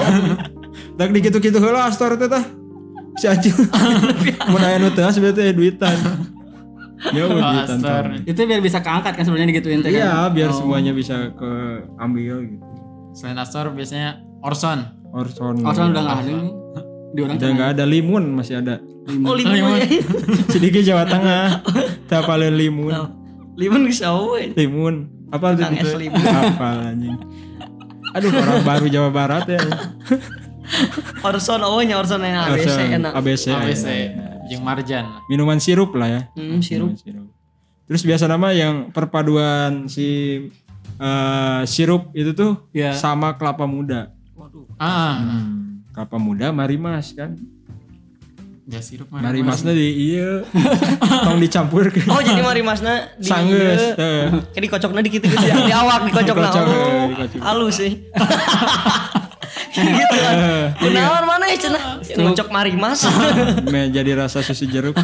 A: Tak di kitu-kitu heula astor teh tah. Si acil. *laughs* Mun aya nu teu sebenarnya teh duitan. Ya udah duitan.
B: astor.
A: tah.
D: Itu biar bisa keangkat kan sebenarnya digituin teh kan.
A: Iya, biar semuanya bisa ke ambil gitu.
B: Selain astor biasanya Orson.
A: Orson.
D: Kalau sekarang udah enggak ada nih. Di orang
A: Udah nggak ada limun masih ada.
C: Oh, limun. *laughs*
A: Sedikit Jawa Tengah. Tak paling limun.
C: Limun geus awe.
A: Limun. Apa itu?
C: Kang
A: gitu?
C: es limun.
A: Apa anjing. Aduh orang baru Jawa Barat
C: *laughs*
A: ya.
C: Orson awe nya Orson enak ABC
A: Alasan
C: enak.
A: ABC.
B: Iya, ABC jeung Marjan.
A: ya. Minuman sirup lah ya.
C: Hmm, sirup.
A: Minuman sirup. Terus biasa nama yang perpaduan si eh, sirup itu tuh
C: Ya.
D: Iya.
A: sama kelapa muda.
C: Waduh.
B: Ah,
A: Kelapa muda mari mas kan.
B: Ya sirup *laughs* mah.
A: Mari masna di iya tong dicampur
C: *laughs*
A: ke
C: Oh jadi mari masna di
A: sanggeus. Heeh.
C: Kayak dikocokna di gitu-gitu
A: *laughs*
C: ya. Di awak dikocokna.
A: Dikocok,
C: Oh,
A: eh, dikocok.
C: halus
A: *laughs*
C: sih. *laughs* gitu kan.
A: Iya.
C: Kunaon mana ya cenah? Ngocok mari mas.
A: *laughs* Me jadi rasa susu jeruk.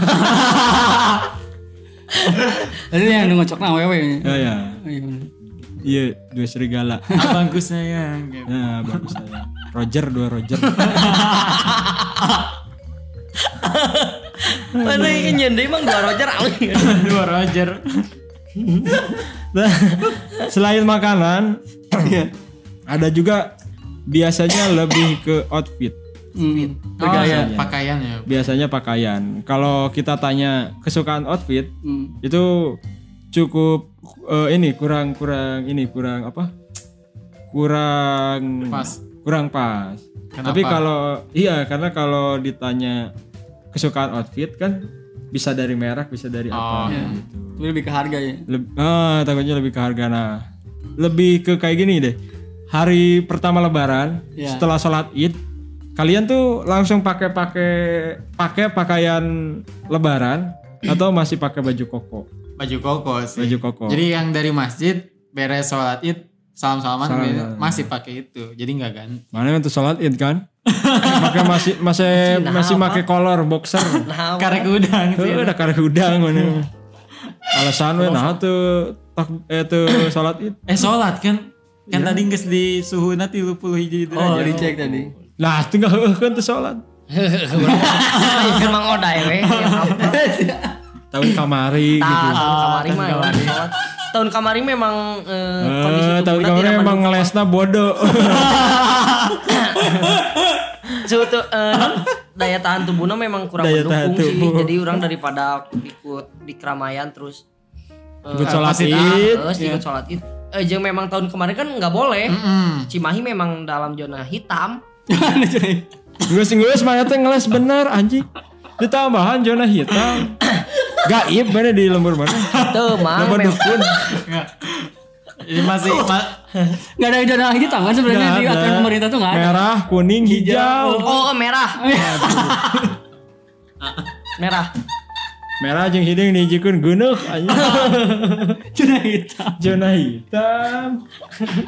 D: Jadi yang ngocok na wewe.
A: ya ya.
D: Iya, bener.
A: Iya, dua serigala.
B: Bagusnya *laughs* ya. kayak-
A: Nah, bagus saya. Roger dua Roger.
C: Mana yang nyendai emang dua rojer *laughs* alih.
B: Dua Roger.
A: Nah, selain makanan, ada juga biasanya lebih ke outfit.
D: Hmm.
B: Pakaian. Pakaian ya.
A: Biasanya pakaian. Kalau kita tanya kesukaan outfit,
D: Hmm.
A: itu cukup eh, ini kurang kurang ini kurang apa? Kurang
B: Pas.
A: Kurang pas.
B: Kenapa?
A: Tapi kalau iya karena kalau ditanya kesukaan outfit kan bisa dari merek, bisa dari apa.
B: Oh.
D: Tapi lebih ke harga ya.
A: Leb- ah, takutnya lebih ke harga nah. Lebih ke kayak gini deh. Hari pertama lebaran
D: Iya.
A: setelah sholat Id, kalian tuh langsung pakai-pakai pakai pakaian lebaran atau masih pakai baju koko?
B: Baju koko sih.
A: Baju koko.
B: Jadi yang dari masjid beres sholat id salam salaman
A: Salam-salaman.
B: masih pakai itu. Jadi nggak ganti.
A: Mana untuk sholat Id
B: *laughs*
A: kan? Pakai masih masih masih pakai kolor boxer.
B: *laughs*
C: Nah,
B: Karek udang sih.
A: Heuh, udah karek udang
D: *laughs*
A: mana. Alasan we nah tuh tak eh tuh salat id.
B: *laughs* Eh sholat kan? Kan tadi nges di suhu nanti lu puluh hiji itu
D: Oh,
B: aja.
D: dicek tadi. *laughs*
A: Lah tinggal heuh kan tuh salat.
C: emang oda *laughs* ya. we. Ya, apa.
A: Tahun kamari gitu.
C: Tahun kamari mah. emang sholat. Tahun kamari memang eh, kondisi
A: Eh, tahun
C: tubuhna
A: kamari
C: tidak
A: emang
C: mendukung.
A: ngelesna bodoh. *laughs*
C: Suhu tu- eh, daya tahan tubuhnya memang kurang
A: Daya tahan
C: mendukung sih.
A: tubuh.
C: Jadi orang daripada ikut di keramaian terus eh,
A: Ikut sholat
B: Masjid,
A: id. Iya.
C: terus ikut sholat id. Eh, jeung memang tahun kemarin kan nggak boleh. Cimahi memang dalam zona hitam.
D: Gimana cuy?
A: Geus-geus mana teh ngeles bener anjing. Ditambahan zona
D: *laughs*
A: hitam. Gaib mana di lembur mana? *laughs*
D: Ah,
C: Tuh, mang.
A: Lembur
C: memang-
A: dukun.
B: Nggak. Ini masih *laughs* ma-
D: Gak ada zona hitam kan sebenarnya di
A: Nggak ada.
D: aturan pemerintah tuh nggak ada. Iya.
A: Merah, kuning, hijau.
C: Oh,
D: *laughs*
C: merah. merah.
A: Merah jeung hidung dijikeun geuneuh
D: *laughs*
A: anjing.
D: Zona hitam.
A: zona hitam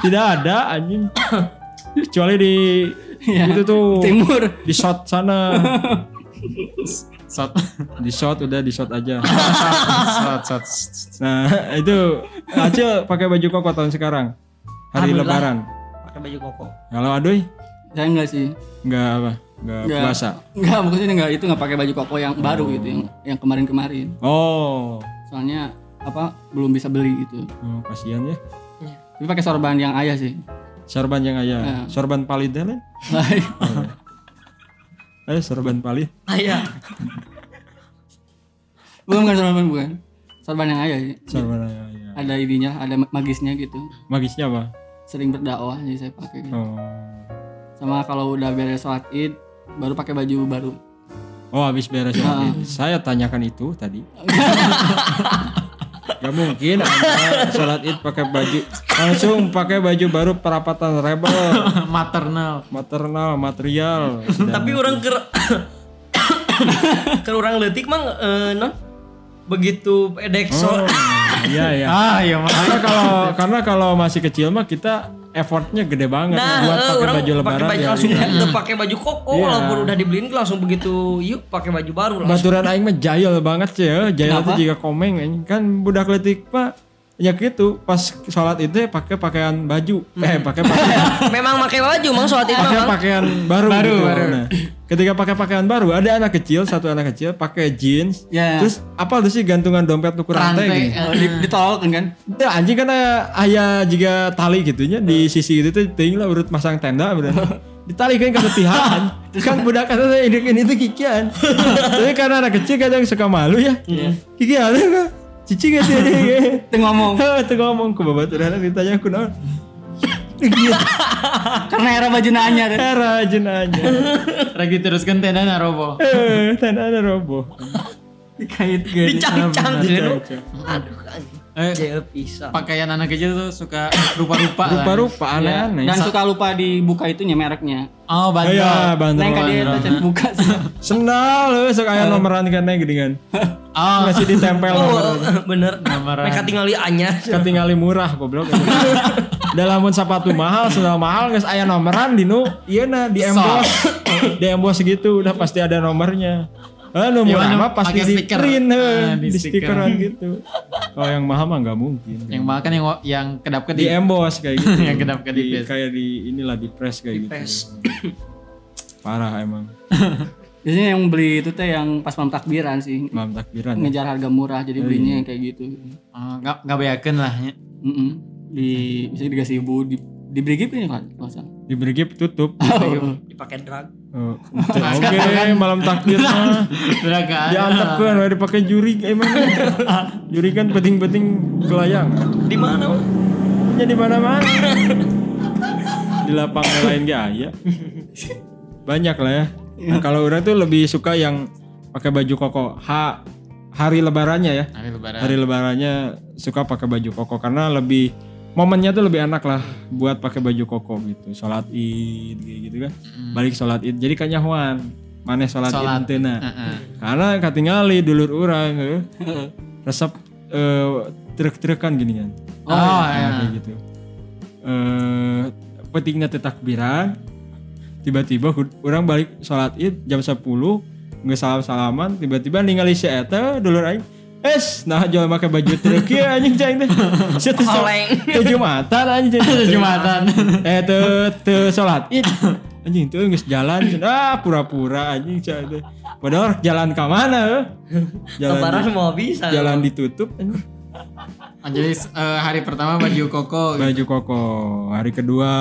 A: tidak ada anjing kecuali di
D: Ya,
A: itu tuh
D: Timur.
A: di shot sana
B: shot *laughs*
A: di shot udah di shot aja
B: shot shot.
A: nah itu Acil pakai baju koko tahun sekarang hari
C: Alhamdulillah.
A: lebaran
C: Pakai baju koko.
A: kalau aduh
D: Saya enggak Ya, sih.
A: nggak apa nggak
D: Nggak.
A: puasa
D: Enggak, maksudnya enggak itu enggak pakai baju koko yang baru gitu yang yang kemarin-kemarin.
A: oh
D: Soalnya apa belum bisa beli gitu.
A: oh, kasihan ya
D: Tapi pakai sorban yang ayah sih. *laughs*
A: sorban yang ayah sorban palit deh Len. eh sorban palit
C: Ayah.
D: bukan bukan sorban bukan. Sorban yang ayah sih.
A: sorban yang ayah
D: Ada ininya, ada magisnya gitu.
A: magisnya apa
D: Sering berdakwah jadi saya pakai gitu.
A: oh
D: Sama kalau udah beres sholat Id baru pakai baju baru.
A: Oh habis beres sholat id. Saya tanyakan itu
C: *laughs*
A: tadi. Gak mungkin Anda sholat id pakai baju langsung pakai baju baru perapatan rebel
B: Maternal.
A: maternal material. Sudah.
C: Tapi orang ke ke orang letik mang eh, non begitu edek
A: Oh,
C: so-
A: Iya ya.
B: Ah ya mah.
A: Karena kalau karena kalau masih kecil mah kita effortnya gede banget
C: Nah,
A: buat
C: eh,
A: pakai
C: orang
A: baju lebaran
C: pakai baju
A: ya. Iya.
C: langsung udah *laughs* pakai baju koko walaupun udah dibeliin langsung begitu yuk pakai baju baru lah.
A: Baturan aing mah jahil banget sih ya. Jahil itu juga komeng anjing. Kan budak letik mah ya gitu pas sholat id pakai pakaian baju
C: Hmm.
A: eh pakai pakaian
C: Memang pakai baju mang sholat itu
A: pakai
C: mang.
A: pakaian baru, gitu. Nah, ketika pakai pakaian baru ada anak kecil satu anak kecil pakai jeans
D: Ya.
A: terus apa tuh sih gantungan dompet ukur
B: Rantai,
A: rantai, gini.
D: Eh, di- ditolak kan?
A: Nah, anjing kan aya- aya juga tali gitunya di sisi itu tuh teuing lah urut masang
D: *laughs*
A: tenda bener. Ditalikeun ke setihan. kan budak kata saya ini ini tuh
D: *laughs*
A: kikian. Tapi karena anak kecil kadang suka malu ya.
D: Iya.
A: Kikian kan. Cici
D: *laughs*
A: gak sih ini?
D: Itu ngomong.
A: *laughs* Tuh ngomong ke babat udah ditanya aku naon.
D: Karena era baju nanya deh.
A: Era
D: *laughs*
A: jenanya.
B: *laughs* Ragi teruskan tenda narobo.
A: Eh, tenda ada roboh.
D: Dikait gitu.
C: Dicang-cang gitu.
A: Cang-cang.
C: Aduh anjing.
B: eh,
C: Jaya pisang.
B: pakaian anak kecil tuh suka rupa-rupa lah.
A: Rupa-rupa aneh-aneh.
D: Dan suka lupa dibuka itunya mereknya.
B: Oh,
A: Oh
B: bandel.
A: iya,
D: Neng
A: bandel.
D: kadi
A: bandel.
D: eta cek buka sih.
A: Sendal lu sok aya nomoran keneh geuningan.
B: Oh,
A: kan. Masih ditempel
C: Oh, *laughs*
A: nomor.
C: bener.
B: Nomoran.
C: Mereka tinggal anya.
A: Ketinggali murah goblok. Dalam mun sepatu mahal, sendal mahal geus aya nomoran di nu ieuna nah, di emboss. di emboss gitu udah pasti ada nomornya. Ah, nu murah
B: Iya,
A: mah pasti
B: pakai
A: di
B: stiker.
A: print, heh,
B: Ah,
A: di,
B: di
A: stikeran gitu. Kalau yang mahal mah nggak mungkin.
B: yang makan yang yang kedap
A: di
B: kedip.
A: emboss kayak gitu.
B: *laughs* Yang kedap-kedip
A: Di-
B: ya.
A: Kayak di inilah di press kayak gitu. Parah emang.
D: Biasanya yang beli itu teh yang pas malam takbiran sih.
A: Mam takbiran. ya.
D: Ngejar harga murah jadi belinya yang kayak gitu.
B: Oh, nggak nggak bayakeun lah. *laughs* nya.
D: Mm-mm. Di misalnya di Gasibu di di Brigip ini kan kalau nggak salah.
A: Di Brigip tutup.
C: Dipakai drag.
A: Oh, Oke, malam takbir mah.
B: Udah kan.
A: Iya. Diantepkeun we dipake juri emang. juri kan penting-penting kelayang.
C: Di mana? Bang?
A: Punya di mana-mana. di lapangan lain ge aya. Banyak lah ya. Nah, kalau orang tuh lebih suka yang pakai baju koko. Ha, hari lebarannya ya.
B: Hari lebaran.
A: Hari lebarannya suka pakai baju koko karena lebih momennya tuh lebih enak lah buat pakai baju koko gitu. Salat Id kayak gitu kan. Balik salat Id. Jadi kanyahuan. Maneh salat
B: Sholat.
A: Id teu na.
B: Heeh.
A: Karena katingali dulur urang
B: *laughs*
A: heuh. resep eh, trek-trekan gini kan.
B: Oh, iya.
A: Nah, kayak gitu. Eh pentingnya teh takbiran. Tiba-tiba ku- orang balik sholat id jam 10 nggak salam salaman tiba-tiba ningali si eta dulur aing es nah jual pakai baju trek ieu anjing cai teh si teh shol-
C: Oleng.
A: teh jumatan anjing
B: Terus Jumatan.
A: eh teu teu sholat id anjing tuh nggak jalan ah pura-pura anjing cai teh padahal jalan ke mana eh? jalan
C: Lebaran mau ah. bisa.
A: jalan ditutup anjing.
B: Oh, Jadi eh, hari pertama baju koko.
A: baju koko hari kedua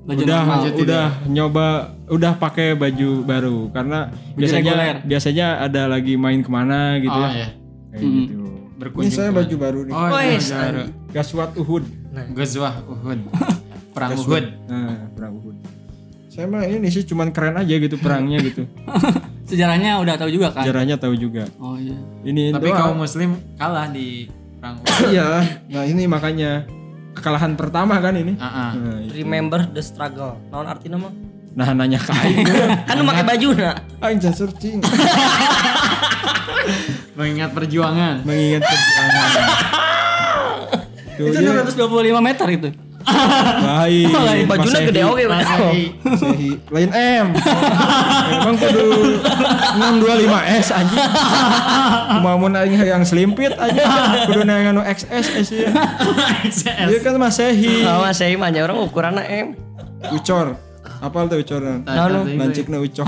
D: Baju
A: udah
D: normal. *laughs*
A: udah nyoba udah pakai baju baru karena biasanya
D: reguler.
A: biasanya ada lagi main kemana gitu
B: Oh
A: ya
B: ya.
A: kayak gitu
B: Berkunjung.
A: saya baju baru nih
B: Oh,
C: Wes,
B: iya.
A: gaswat uhud
B: Gozwah
A: *laughs*
B: Uhud. Perang Uhud.
A: nah perang uhud saya mah ini sih cuman keren aja gitu perangnya gitu
D: Sejarahnya udah tahu juga kan?
A: sejarahnya tahu juga
D: Oh iya.
A: ini
B: Tapi
A: doang.
B: kaum muslim kalah di perang Uhud.
A: iya nah ini makanya kekalahan pertama kan ini
B: Heeh.
A: nah, i-
C: Remember the struggle. Naon artinya mah?
A: nah nanya ke aing
C: Kan lu pakai baju na.
A: *laughs* aing jangan searching
B: Mengingat perjuangan.
A: mengingat perjuangan Tuh,
D: Itu
A: ya.
D: 225 meter itu. *laughs*
A: Lain.
C: Bajunya
A: Masehi.
C: gede oke.
A: Oh.
C: Bang.
B: Masih
A: Masehi. Lain M. Eh, Emang kudu 625 S anjing. Kumamun aing yang selimpit aja. Kudu neangan nu XS S ya.
B: XS.
A: Dia kan Masehi.
C: Oh, saya mah nya orang ukuranna M.
A: Ucor. Apal tuh ucorna?
B: Nah, itu-
A: Lancikna *laughs* ucor.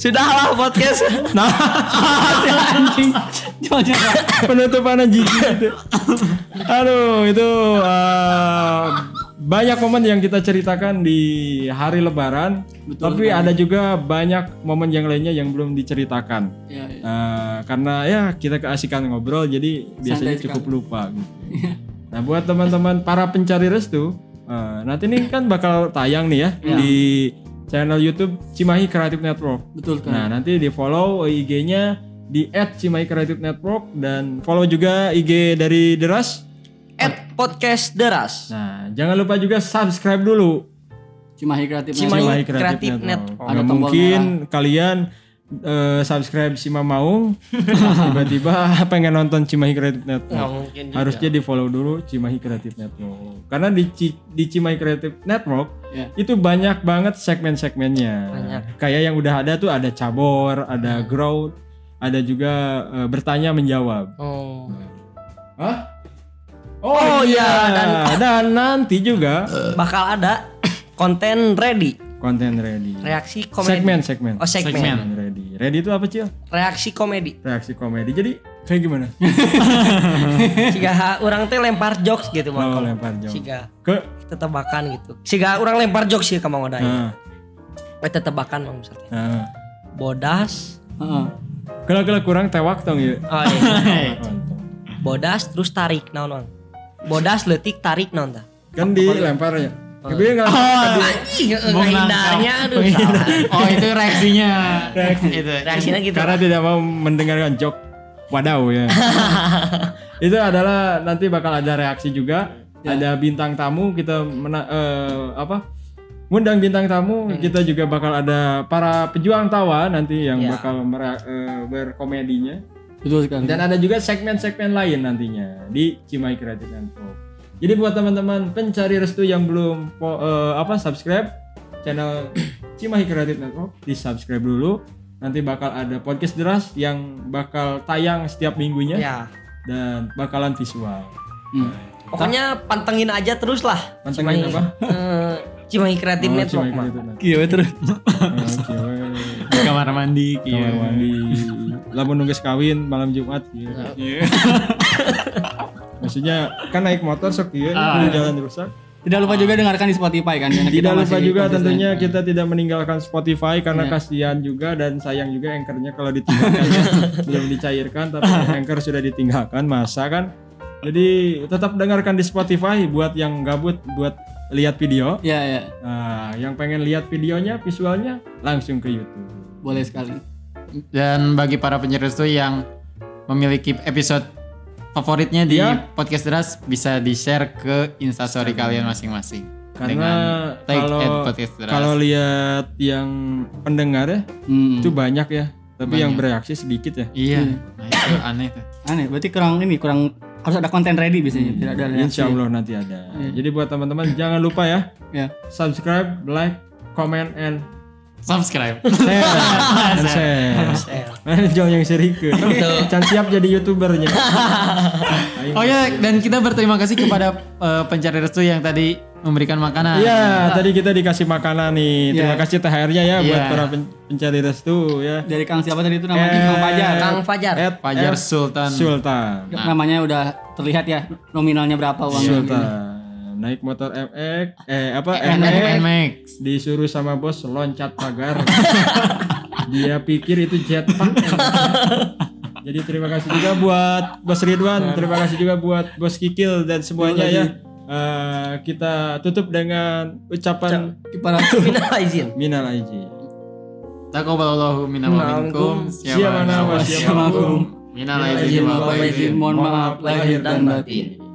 C: Sudahlah podcast. Nah.
D: Anjing. Jangan jangan.
A: Penutupannya jijik gitu. Aduh, itu eh, banyak momen yang kita ceritakan di hari lebaran. tapi ada juga banyak momen yang lainnya yang belum diceritakan.
D: Iya, iya.
A: Eh, karena ya kita keasikan ngobrol jadi biasanya
D: Santai Iya.
A: cukup lupa gitu. Nah buat teman-teman para pencari restu eh, nanti ini kan bakal tayang nih ya
D: Iya.
A: di channel YouTube Cimahi Creative Network.
D: Betul kan?
A: Nah nanti di follow IG-nya di @cimahi Creative Network dan follow juga IG dari Deras.
C: At podcast deras.
A: Nah jangan lupa juga subscribe dulu
D: Cimahi kreatif.
C: Cimahi.
A: Cimahi
C: Creative
A: Nah, Creative Network. Oh,
C: Network.
A: Nggak
D: Ada tombol
A: mungkin kalian eh, subscribe Sima Maung tiba-tiba *laughs* pengen nonton Cimahi Creative
C: Nggak
A: Network.
C: mungkin.
A: Harusnya di follow dulu Cimahi Creative Network. Karena di, Ci- di Cimahi Creative Network
D: Iya.
A: itu banyak banget segmen-segmennya.
C: Banyak.
A: Kayak yang udah ada tuh ada cabor, ada grow, ada juga eh, bertanya menjawab.
C: Oh.
A: Hah? Oh, iya, dan, nanti juga
C: Bakal ada konten ready.
A: konten ready.
C: Reaksi Ya, komedi.
A: Segmen, segmen.
C: Oh, segmen.
B: Segmen.
A: Segmen ready. Ready itu apa, Cil?
C: Reaksi komedi.
A: reaksi komedi jadi kayak gimana
C: Siga orang teh lempar jokes gitu mah.
A: mau lempar jauh
C: Siga
A: ke
C: kita tebakan gitu. Siga orang lempar jokes sih kamu ngodai.
A: nah,
C: Kita tebakan mah misalnya.
A: nah.
C: Bodas.
D: Heeh.
A: kalau kalau kurang tewak tong ya
C: Oh, iya. Bodas terus tarik naon Bang. Bodas letik tarik naon tah?
A: kan dilempar ya Tapi nggak
C: Anjing, eh,
B: Mau
C: ngehindanya
B: nangkap.
C: aduh. salah.
B: Oh itu reaksinya. itu.
C: Reaksinya gitu.
A: karena tidak mau mendengarkan jok wadau *laughs* ya. itu adalah nanti bakal ada reaksi juga. Ada bintang tamu kita mena, eh, apa? Ngundang bintang tamu, kita juga bakal ada para pejuang tawa nanti yang
C: Ya.
A: bakal mera- eh, berkomedinya.
D: Betul sekali.
A: Dan ada juga segmen-segmen lain nantinya di Cimai Creative and Pop. Jadi buat teman-teman pencari restu yang belum po- eh, apa subscribe channel *coughs* Cimahi Creative Network, di subscribe dulu. Nanti bakal ada podcast deras yang bakal tayang setiap minggunya
C: Ya.
A: dan bakalan visual.
C: Pokoknya pantengin aja terus lah.
A: Pantengin
C: Cimahi-
A: apa?
C: eh, Cimahi Kreatif
A: Oh,
C: Network
A: Cimahi
C: mah.
A: Creative Network.
D: Iya terus.
A: Oh, kieu.
B: Di kamar mandi.
A: Kamar
B: kieu.
A: mandi. Lamun nunggu kawin malam Jumat kieu. Maksudnya kan naik motor sok kieu, di jalan rusak.
D: Tidak lupa juga dengarkan di Spotify kan. karena kita
A: Tidak lupa
D: masih
A: juga
D: konsisten.
A: tentunya kita tidak meninggalkan Spotify karena kasihan juga dan sayang juga anchornya kalau ditinggalkan ya. belum dicairkan tapi anchor sudah ditinggalkan masa kan. Jadi tetap dengarkan di Spotify buat yang gabut buat lihat video.
D: Iya ya.
A: Nah, yang pengen lihat videonya, visualnya langsung ke YouTube.
D: Boleh sekali.
B: Dan bagi para penyerus tuh yang memiliki episode favoritnya di
A: Iya.
B: podcast deras bisa di share ke instastory kalian masing-masing.
A: Karena
B: Dengan tag
A: kalau
B: at podcast deras.
A: kalau lihat yang pendengar ya
D: Hmm.
A: itu banyak ya, tapi yang bereaksi sedikit ya.
B: Iya, nah itu aneh tuh.
D: Aneh. Berarti kurang ini kurang harus ada konten ready biasanya. Tidak ada ya? reaksi.
A: Insya Allah nanti ada. Jadi buat teman-teman jangan lupa ya
D: Ya.
A: subscribe, like, comment, and
B: Subscribe. *laughs*
A: share. And *laughs* share. Eh, Jangan yang seri ke. Can siap jadi youtubernya.
B: *laughs*
A: Ayo.
B: Oh ya, dan kita berterima kasih kepada eh, pencari restu yang tadi memberikan makanan.
A: Iya, tadi kita dikasih makanan nih. Terima kasih THR-nya ya buat
B: Iya.
A: para pen- pencari restu ya.
D: Dari Kang siapa tadi itu namanya Kang Pajar.
C: Kang Fajar.
A: At
B: Fajar
A: R.
B: Sultan.
A: Sultan.
D: Namanya udah terlihat ya nominalnya berapa uangnya.
A: Sultan. Naik motor MX, eh apa
B: And
A: MX
B: Max.
A: disuruh sama bos loncat pagar. Dia pikir itu jetpack. Jadi terima kasih juga buat Bos Ridwan, terima kasih juga buat Bos Kikil dan semuanya ya. Eh, kita tutup dengan ucapan
D: Para
C: Minal izin.
A: minal aijin.
B: Takobalallahu minna wa minkum.
A: Siapa nama
B: Siapa
A: siapa
B: Minna wa izin wa
D: mohon maaf lahir dan batin.